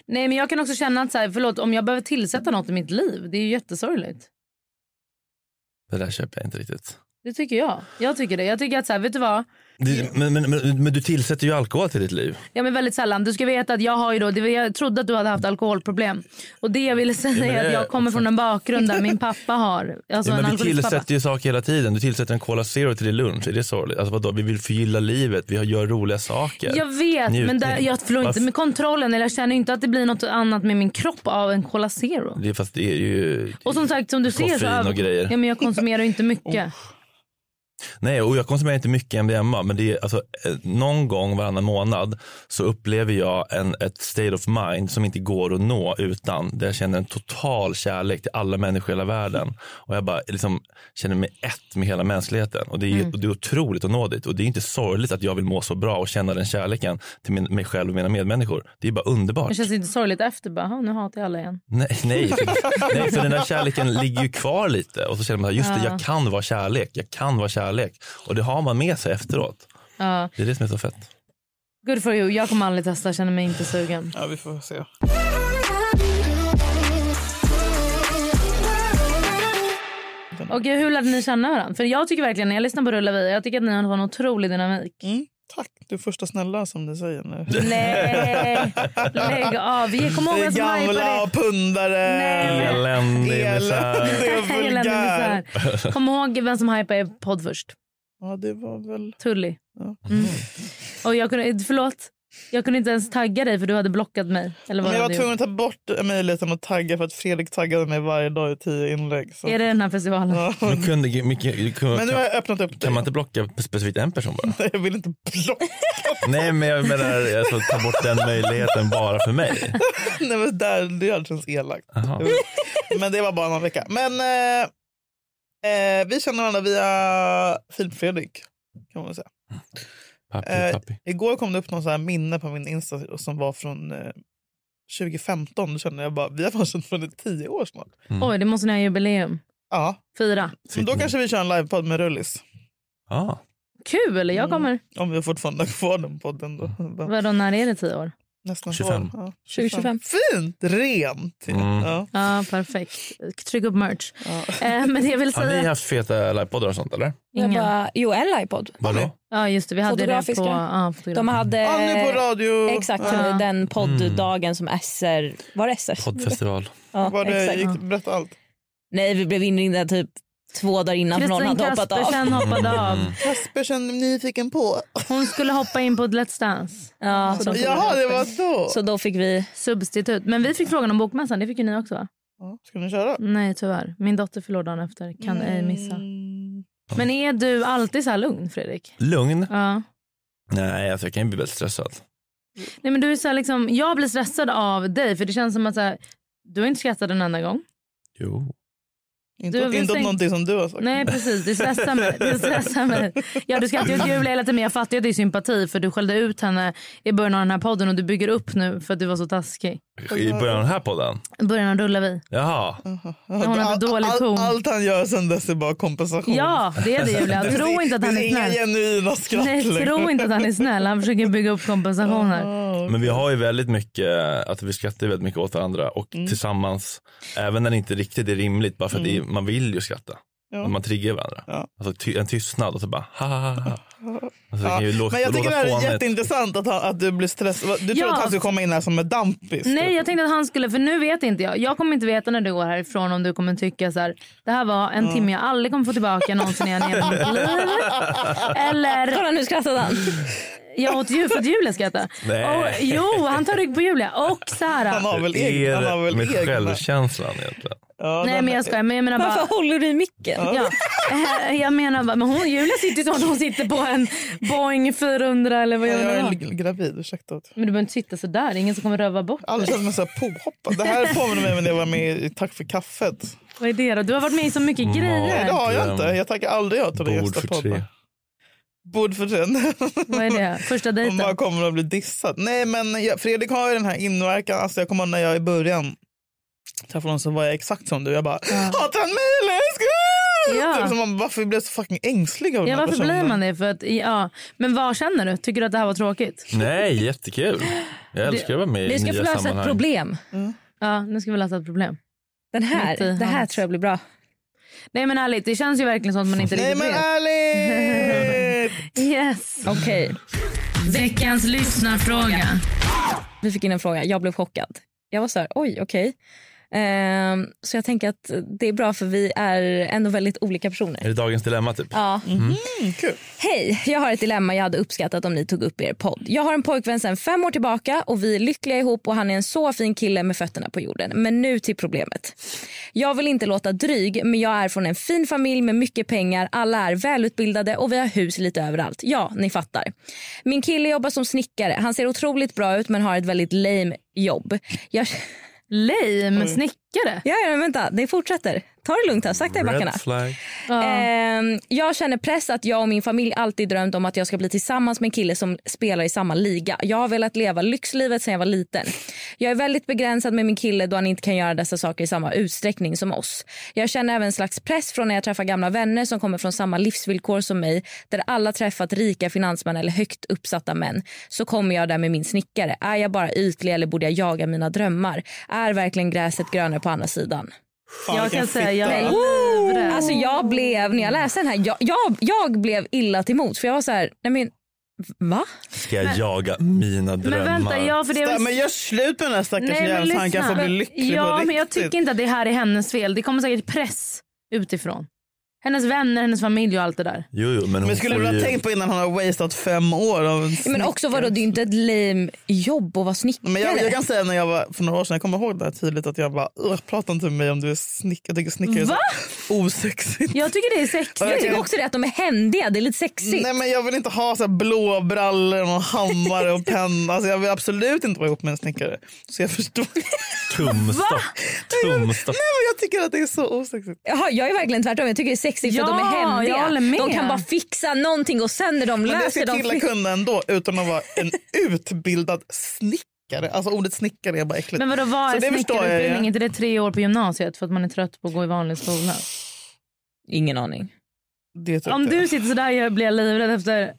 Nej men jag kan också känna att så här, förlåt, om jag behöver tillsätta något i mitt liv, det är ju jättesorgligt. Det där köper jag inte riktigt. Det tycker jag. Jag tycker det. Jag tycker att så här, vet du vad? Det- Men, men, men, men du tillsätter ju alkohol till ditt liv. Ja, men väldigt sällan. Du ska veta att jag har ju då, det var- jag trodde att du hade haft alkoholproblem. Och det jag ville säga men är att det- jag kommer från en bakgrund där min pappa har, alltså ja, en men du alkoholist pappa. tillsätter ju saker hela tiden. Du tillsätter en Cola Zero till din lunch. Är det sorgligt? Alltså vadå? Vi vill förgylla livet. Vi gör roliga saker. Jag vet, men där, jag förlorar inte Varför- med kontrollen. Eller jag känner inte att det blir något annat med min kropp av en Cola Zero. Det är fast det är ju... Och som sagt, som du ser så Koffein och grejer. ja, men jag konsumerar ju inte mycket. Nej, och jag konsumerar inte mycket MDMA, men det är alltså eh, någon gång varannan månad så upplever jag en, ett state of mind som inte går att nå utan där jag känner en total kärlek till alla människor i hela världen och jag bara liksom känner mig ett med hela mänskligheten och det är, Mm. och det är otroligt att nå dit och det är inte sorgligt att jag vill må så bra och känna den kärleken till min, mig själv och mina medmänniskor. Det är bara underbart. Det känns inte sorgligt efter bara, "Ha, nu hatar jag alla igen. Nej, nej, nej, för den där kärleken ligger ju kvar lite och så känner man att just det, Ja. jag kan vara kärlek, jag kan vara kärlek och det har man med sig efteråt. Ja. Det är det som är så fett. Good for you. Jag kommer aldrig testa, känner mig inte sugen. Ja, vi får se. Och hur lärde ni känna varandra? För jag tycker verkligen, när jag lyssnar på Rulla Vi, jag tycker att ni har en otrolig dynamik. Mm, Tack, du är första snälla som du säger nu. Nej, lägg av. Vi kommer ihåg Det vad är som hypade gamla och pundare. Eländig El- misär. Det är Hej, Elände vulgär. Misär. Kom ihåg vem som hypade er podd först. Ja, det var väl... Tully. Mm. Och jag kunde, förlåt, jag kunde inte ens tagga dig för du hade blockat mig. Eller vad Men jag du hade var tvungen att gjort. ta bort möjligheten att tagga för att Fredrik taggade mig varje dag i tio inlägg. Så. Är det den här festivalen? Men, kunde, mycket, kunde, Men nu har jag öppnat upp kan, man inte blocka specifikt en person bara? Nej, jag vill inte blocka. Nej, men jag menar alltså, ta bort den möjligheten bara för mig. Nej, men där, det hade känts elakt. Jaha. Men det var bara någon vecka. Men eh, eh, vi känner varandra via Filip Fredrik. Kan man väl säga. Pappi, Eh, pappi. igår kom det upp någon så här minne på min Insta som var från eh, 2015. Då kände jag bara, vi har fan känt varandra i tio år snart. Oj, det måste ni ha jubileum. Ja. Fyra. Men då kanske vi kör en livepodd med Rullis. Ja. Kul, Mm. jag kommer. Om vi fortfarande har kvar den podden då. Vadå, när är det tio år? Nästan 25. Ja, 2025. Fint! Rent! Ja. Ja, perfekt. Tryck upp merch. Eh, men det jag vill Har säga... ni haft feta livepoddar och sånt eller? Ingen. jo, en iPod. Vadå? Ja, just det. Vi hade det på... Fotografiska. Ja, fotografiska. De hade Ja, nu på radio. Eh, exakt Ja. den podddagen som SR, var det SR? Poddfestival. Ja, Var det- exakt. gick- berätta allt. Nej vi blev inringda typ två dagar innan för någon Kristin hade hoppat av. Kaspersen Mm. hoppade av. Kaspersen nyfiken på. Hon skulle hoppa in på Let's Dance. Ja, som Jaha, det var så. Så då fick vi... Substitut. Men vi fick frågan om Bokmässan. Det fick ju ni också va? Ska ni köra? Mm. Nej tyvärr. Min dotter förlorar dagen efter. Kan ej missa. Men är du alltid så här lugn Fredrik? Lugn? Ja. Nej, alltså, jag kan ju bli väldigt stressad. Nej, men du är så här, liksom, jag blir stressad av dig för det känns som att så här, du har inte skrattat en enda gång. Jo. Inte, Du har väl inte om tänkt- någonting som du har sagt. Nej precis, det stressar mig. Det stressar mig. Ja, du skrattar ju åt Julia hela tiden men jag fattar ju att det är sympati för du skällde ut henne i början av den här podden och du bygger upp nu för att du var så taskig. I början av den här podden? Början av rullar vi. Jaha. Hon hade All- dålig all- ton. Allt han gör sen dess är bara kompensation. Ja, det är det Julia. Det Tro finns- inte att han det är finns snäll. Inga genuina skratt Nej, längre. tro inte att han är snäll. Han försöker bygga upp kompensationer. Men vi har ju väldigt mycket, att vi skrattar ju väldigt mycket åt varandra och Mm. tillsammans, även när det inte riktigt är rimligt, bara för att det är, man vill ju skratta. Mm. Ja. Man triggar varandra. Alltså ty, en tystnad och så bara ha ha ha. ha. Alltså, det Ja, kan ju låta, men jag tycker det låta här är fånigt. jätteintressant att, han, att du blir stressad. Du tror Ja. att han skulle komma in här som en dampis? typ. Nej, jag tänkte att han skulle, för nu vet inte jag. Jag kommer inte veta när du går härifrån om du kommer tycka så här. Det här var en timme jag aldrig kommer få tillbaka någonsin igen i hela mitt liv. Eller... Kolla nu skrattade han. Jag åt ju för att Julia skrattade. Nej. Och, jo, han tar rygg på Julia. Och så här. Hur är det med självkänslan egentligen? Nej men jag skojar. Men jag menar bara... Varför håller du i micken? Ja. Eh, Jag menar bara, men hon, Julia sitter ju som att hon sitter på en Boeing 400 eller vad jag gör är hon? li- gravid, ursäkta. Men du behöver inte sitta så där. ingen som kommer röva bort Alla känns mig så här påhoppad. Det här påminner mig om när jag var med i Tack för kaffet. Vad är det då? Du har varit med i så mycket Nej, grejer. det har jag inte. Jag tackar aldrig ja till den gästa podden. Bord för tre. Vad är det? Första dejten? Man kommer att bli dissad. Nej, men jag, Fredrik har ju den här inverkan. Alltså, jag kommer ihåg när jag i början träffade honom så var jag exakt som du. Jag bara, hatar han mig eller älskar han? Ja. Typ som man- Varför blir jag så fucking ängslig av Ja, den här varför personen? blir man det? För att, ja. Men vad känner du? Tycker du att det här var tråkigt? Nej, jättekul. Jag älskar att vara med i nya sammanhang. problem. Ja, nu ska vi lösa ett problem. Den här- det här tror jag blir bra. Nej men ärligt, det känns ju verkligen som att man inte Nej, riktigt men vet. ärligt! Yes. Okej. Veckans lyssnarfråga. Vi fick in en fråga. Jag blev chockad. Jag var så här, oj, okej. Ehm, så jag tänker att det är bra för vi är ändå väldigt olika personer. Är det dagens dilemma typ? Ja. Mm. Mhm. Hej, jag har ett dilemma jag hade uppskattat om ni tog upp i er podd. Jag har en pojkvän sedan fem år tillbaka och vi är lyckliga ihop och han är en så fin kille med fötterna på jorden. Men nu till problemet. Jag vill inte låta dryg men jag är från en fin familj med mycket pengar, alla är välutbildade och vi har hus lite överallt. Ja, ni fattar. Min kille jobbar som snickare. Han ser otroligt bra ut men har ett väldigt lame jobb. Jag... Lame snickare? Ja, ja, vänta. Det fortsätter. Ta det lugnt här. Sakta i backarna. Red flag. Eh, Ehm, jag känner press att jag och min familj alltid drömt om att jag ska bli tillsammans med en kille som spelar i samma liga. Jag har velat leva lyxlivet sedan jag var liten. Jag är väldigt begränsad med min kille då han inte kan göra dessa saker i samma utsträckning som oss. Jag känner även en slags press från när jag träffar gamla vänner som kommer från samma livsvillkor som mig där alla träffat rika finansmän eller högt uppsatta män. Så kommer jag där med min snickare. Är jag bara ytlig eller borde jag jaga mina drömmar? Är verkligen gräset grönare på andra sidan? Fan, Jag vilken kan säga jag fitta. är Woo! livrädd. Alltså jag blev, när jag läste den här, jag, jag, jag blev illa till mods för jag var så här, nej men va? Ska jag jaga mina drömmar? Stämmer, gör slut med den här stackars jäveln så han kan få bli lycklig på Ja, riktigt. men jag tycker inte att det här är hennes fel. Det kommer säkert press utifrån. Hennes vänner, hennes familj och allt det där. Jo, jo, men hon men skulle får du ha ju- tänkt på innan han har wasted fem år av en Men också vadå, det är ju inte ett lame jobb att vara snickare. Men jag, jag kan säga när jag var för några år sedan, jag kommer ihåg det här tydligt att jag bara "Ugh, prata inte med mig om du är snick, jag tycker snickare är så Va? osexigt. Jag tycker det är sexigt. Jag tycker också det att de är händiga, det är lite sexigt. Nej men jag vill inte ha så här blå brallor och hammare och penna. Alltså, jag vill absolut inte vara ihop med en snickare. Så jag förstår. Tumstock. Tumstock. Nej men jag tycker att det är så osexigt. Jaha, jag är verkligen tvärtom. Jag tycker det är sexigt för Ja, att de är jag håller med. händiga. De kan bara fixa någonting och sen när de Men det löser ska killar de... kunna ändå utan att vara en utbildad snickare. Alltså ordet snickare är bara äckligt. Men vadå, vad Så är det förstår jag ju. snickarutbildning? Är inte det tre år på gymnasiet för att man är trött på att gå i vanlig skola? Ingen aning. Det är typ Om det. du sitter sådär jag blir jag livrädd efter...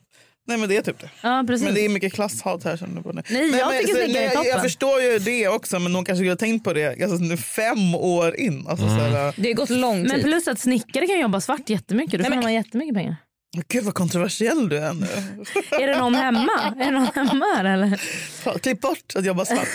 Nej men det är typ det. Ja, precis. Men det är mycket klasshat här. Känner jag på nu. eh, Nej, jag tycker så- snickare är nej, jag, jag toppen. förstår ju det också men de kanske skulle ha tänkt på det alltså, nu fem år in. Alltså, Mm. såhär, Det har gått lång Men plus att snickare kan jobba svart jättemycket. Då får man ha jättemycket pengar. Gud vad kontroversiell du är nu. Är det någon hemma? Är det någon hemma här eller? Fan, Klipp bort att jag bara svart.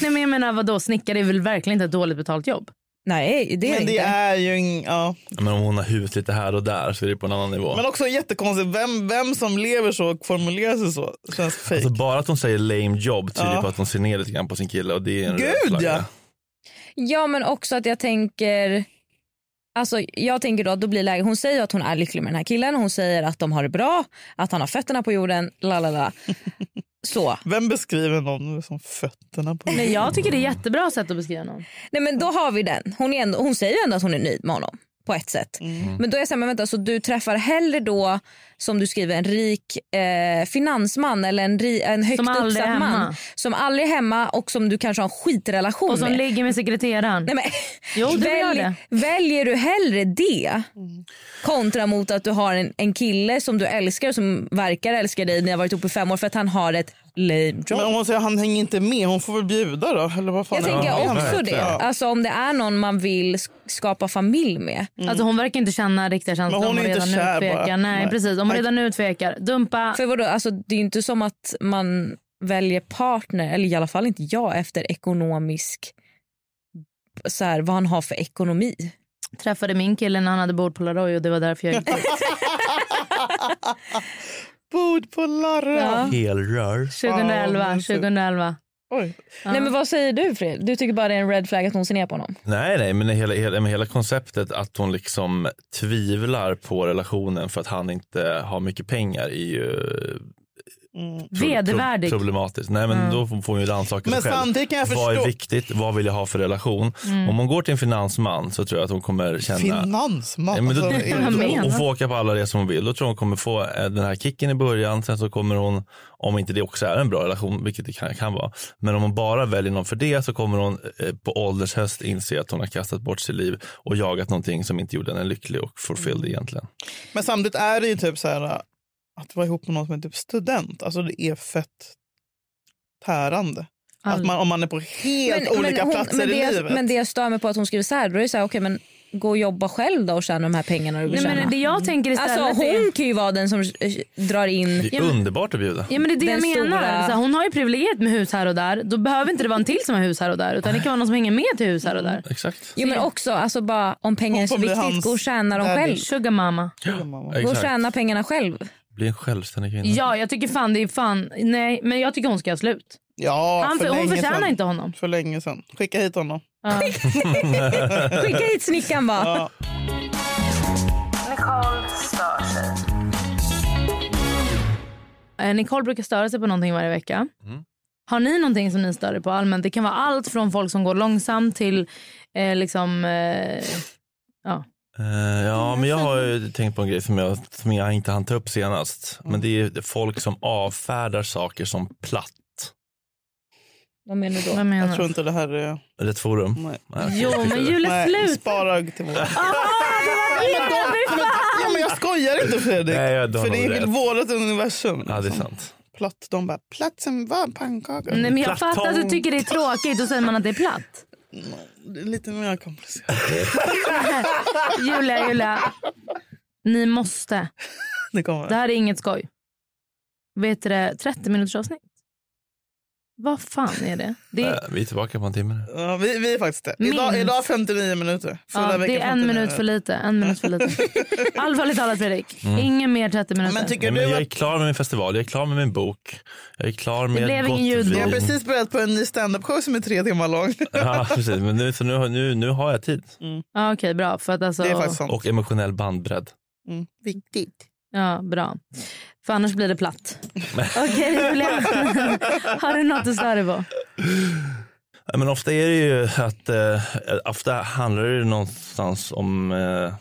Nej men jag menar vadå, snickare är väl verkligen inte ett dåligt betalt jobb? Nej men det är ju ing, ja. Men om hon har hus lite här och där så är det på en annan nivå. Men också jättekonstigt, vem, vem som lever så och formulerar sig så känns fake. Alltså bara att hon säger lame job tyder Ja. på att hon ser ner lite grann på sin kille. Och det är en Gud, red flagg, ja. Ja men också att jag tänker Alltså, jag tänker då att då blir läge. Hon säger att hon är lycklig med den här killen. Hon säger att de har det bra, att han har fötterna på jorden. La, la, la. Så. Vem beskriver någon som fötterna på Nej, jag tycker det är jättebra sätt att beskriva någon. Nej, men då har vi den. Hon, är ändå, hon säger ju ändå att hon är nöjd med honom. På ett sätt. Men då är jag så här, men vänta, så du träffar hellre då som du skriver en rik eh, finansman eller en, ri, en högt Som aldrig är uppsatt man hemma. som aldrig är hemma och som du kanske har en skitrelation Och som med. ligger med sekreteraren. Nej, men, Jo, det vill jag Välj, det. Mm. väljer du hellre det kontra mot att du har en, en kille som du älskar som verkar älska dig när jag varit ihop i fem år för att han har ett lame jobb. Men om hon säger att han hänger inte med, hon får väl bjuda då? Eller vad fan jag är tänker det? också det. Ja. Alltså om det är någon man vill sk- skapa familj med. Alltså hon verkar inte känna riktiga känslor Men hon om är hon inte redan nu kär tvekar. bara. Nej, Nej. precis. Om hon Nej. redan nu tvekar, dumpa. För vadå? Alltså, det är ju inte som att man väljer partner, eller i alla fall inte jag, efter ekonomisk... Så här, vad han har för ekonomi. Träffade min kille när han hade bord på Laroy och det var därför jag gick dit. Bord på Larra. Ja. Helrör. 2011, 2011. Nej, men vad säger du Fred? Du tycker bara det är en red flag att hon ser ner på honom? Nej, nej, men hela, hela, men hela konceptet att hon liksom tvivlar på relationen för att han inte har mycket pengar är ju pro- Vedervärdig. pro- problematiskt. Nej, men Mm. då får får hon ju rannsaka sig Men själv. samtidigt kan jag Vad är förstå- viktigt? Vad vill jag ha för relation? Mm. Om hon går till en finansman så tror jag att hon kommer känna... Finansman. Ja, men då, alltså, är det- då, och få åka på alla resor hon vill. Då tror jag hon kommer få eh, den här kicken i början. Sen så kommer hon, om inte det också är en bra relation, vilket det kan, kan vara. Men om hon bara väljer någon för det så kommer hon eh, på ålders höst inse att hon har kastat bort sitt liv och jagat någonting som inte gjorde henne lycklig och Mm. fulfilled egentligen. Men samtidigt är det ju typ så här att vara ihop med någon som är typ student. Alltså det är fett tärande. Att man, om man är på helt olika hon, platser men i det, alltså- livet. Men det jag stör mig på att hon skriver så här, då är det så här, okej men gå och jobba själv då och tjäna de här pengarna du vill Nej, men tjäna? det jag tänker istället alltså, hon är- kan ju vara den som eh, drar in... Mm. Det är underbart att bjuda. Ja men det är det Den jag menar. stora- Så här, hon har ju privilegiet med hus här och där. Då behöver inte det vara en till som har hus här och där. Utan det kan vara någon som hänger med till hus här och där. Exakt. Jo, men också alltså, bara, om pengar är så Om det är viktigt, hans gå och tjäna dem baby. själv. Sugar mamma. Gå och Exakt. tjäna pengarna själv. Bli en självständig kvinna. Ja jag tycker fan det är fan. Nej men jag tycker hon ska ha slut. Ja, Han- för hon länge förtjänar sedan. inte honom. För länge sedan. Skicka hit honom. Skicka hit snickaren bara. Nicole stör sig. Eh, Nicole brukar störa sig på någonting varje vecka. Mm. Har ni någonting som ni stör er på allmänt? Det kan vara allt från folk som går långsamt till eh, liksom... Eh, ja. Eh, ja, men jag har ju tänkt på en grej som jag, som jag inte hann ta upp senast. Men det är folk som avfärdar saker som platt. Vad menar du då? Vad menar jag tror inte det här är... Är det ett forum? Nej. okej. Jo, men Julia, Ah, Nej, sluta. spara till våren. men, ja, men jag skojar inte Fredrik. Nej, jag- du har för det nog är väl rätt. vårt universum. Ja, det är sant. Platt, de bara, platt som varm pannkaka. Nej, men jag fattar att du tycker det är tråkigt och säger man att det är platt. Det är Mm, lite mer komplicerat. Julia, Julia. Ni måste. Det kommer. Det här är inget skoj. Vet du det? 30 minuters avsnitt. Vad fan är det? Det Mm. Äh, är, Eh, vi är tillbaka på en timme nu. Ja, vi, vi är faktiskt det. Idag, Minst. idag 59 minuter. Förra ja, veckan det är en 59 minut för lite. En minut för lite. Allvarligt talat Fredrik. Mm. Ingen mer 30 minuter. Men tycker Nej, men du jag är att... klar med min festival, jag är klar med min bok. Jag är klar med blev gott ingen ljudbok. vin. Jag har precis börjat på en ny standup-show som är tre timmar lång. Ja, precis. Men nu, så nu, nu, nu har jag tid. Ja, Okej, bra. För att alltså, Det är faktiskt sant. Och emotionell bandbredd. Mm. Viktigt. Ja, bra. För annars blir det platt. Okej, Julia. Har du något att störa dig på? Ja, Men ofta är det ju att eh, ofta handlar det någonstans om eh,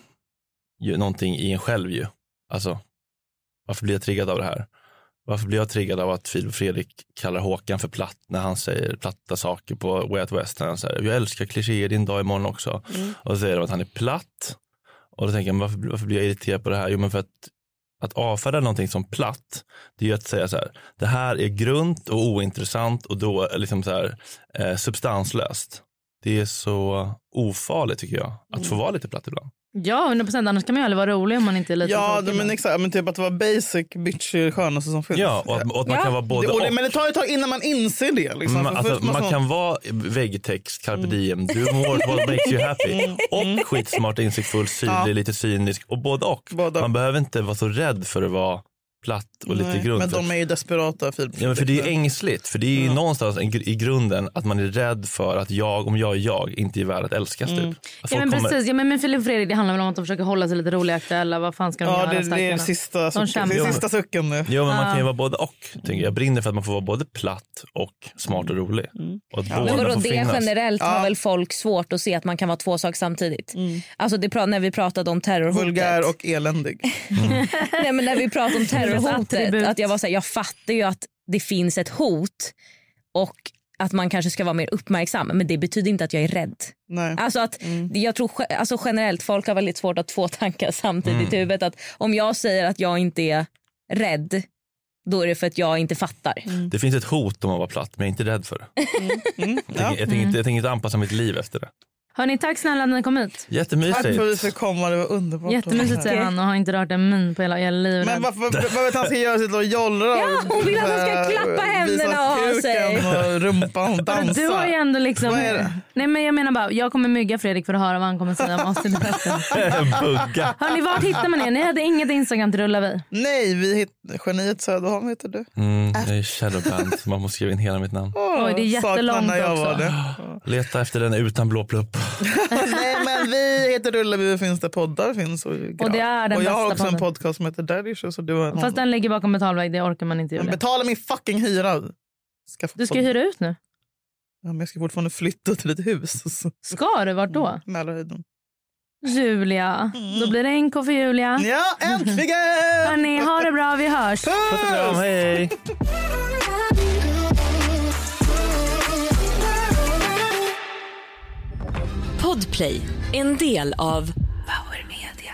ju, någonting i en själv ju. Alltså, varför blir jag triggad av det här? Varför blir jag triggad av att Filip och Fredrik kallar Håkan för platt när han säger platta saker på Way Out West? När han säger, jag älskar klichéer din dag imorgon också. Och så säger de att han är platt. Och då tänker jag, men varför, varför blir jag irriterad på det här? Jo, men för att, att avfärda någonting som platt, det är ju att säga så här, det här är grunt och ointressant och då liksom så här, eh, substanslöst. Det är så ofarligt tycker jag, Mm. att få vara lite platt ibland. Ja, 100 procent. Annars kan man ju aldrig vara rolig om man inte är lite Ja, tråkig. men exakt. Men typ att vara basic bitch är det skönaste som finns. Ja, och att, och att man kan vara både det, och det, och. men det tar ett tag innan man inser det. Liksom. Man, För först alltså, måste Mm. man kan vara väggtext, carpe diem, do more what makes you happy och skitsmart, insiktsfull, syrlig, Ja. lite cynisk och både och. Både och. Man behöver inte vara så rädd för att vara platt och lite Nej, grund. Men för- de är Mm. ju desperata. Filip. Ja, men för det är ju ängsligt, för det är ju någonstans en, gr- i grunden att man är rädd för att jag, om jag är jag, inte är värd att älskas. Mm. Typ. Att Ja, men folk kommer- precis. Ja, men, men Filip och Fredrik, det handlar väl om att de försöker hålla sig lite roliga aktuella. Vad fan ska de Ja, göra? det, det är stackarna? den sista, De sucken. det är kämpar. sista sucken nu. Jo, men man Ah. kan ju vara både och. Tänker jag. jag brinner för att man får vara både platt och smart och rolig. Mm. Och att Men båda vadå, får det finnas. generellt har väl folk svårt att se att man kan vara två saker samtidigt. Mm. Alltså det pra- när vi pratade om terrorhotet. Vulgär och eländig. Nej, men när vi pratade om terrorhotet, Attribut. att jag var så här, jag fattar ju att det finns ett hot och att man kanske ska vara mer uppmärksam, men det betyder inte att jag är rädd. Nej. Alltså att, Jag tror ge- alltså generellt folk har väldigt svårt att ha två tankar samtidigt i huvudet. Att om jag säger att jag inte är rädd, då är det för att jag inte fattar. Det finns ett hot om att vara platt, men jag är inte rädd för det. Mm. Jag tänker, jag, tänker inte, jag tänker inte anpassa mitt liv efter det. Hörni, tack snälla att ni kom hit. Tack Jättemysigt. för att du fick komma, det var underbart. Jättemysigt säger han och har inte rört en min på hela, hela livet. Men vad, vad, vad vet han ska göra? Sitta och jollra? Ja, hon vill att han ska Eh, klappa händerna visa och ha sig. kuken och rumpan och dansa. du har ju ändå liksom... Vad är det? Nej men jag menar bara, jag kommer mygga Fredrik för att höra vad han kommer säga om oss i debatten. Bugga. Hörni, vart hittar man er? Ni hade inget Instagram till Rulla vi. Nej, vi hit, geniet Söderholm heter du. Mm, jag är shadowband, så man måste skriva in hela mitt namn. Oj, det är Saknar jättelångt när jag också. Var det. Leta efter den utan blå plupp. Nej, men vi heter Rullaby och finns där poddar finns. Och, Och det är den och jag har bästa också en podden. podcast som heter Daddy Issues. och Du har en Fast annan. den ligger bakom betalväg, det orkar man inte Men Julia. betala min fucking hyra. Skaffa Du ska podd. hyra ut nu. Ja, men jag ska fortfarande flytta till ett hus. Så. Ska du? Vart då? Mälarhöjden. Julia. Då blir det NK för Julia. Mm. Ja, äntligen! Hörni, ha det bra. Vi hörs. Puss och kram, hej! Podplay, en del av Power Media.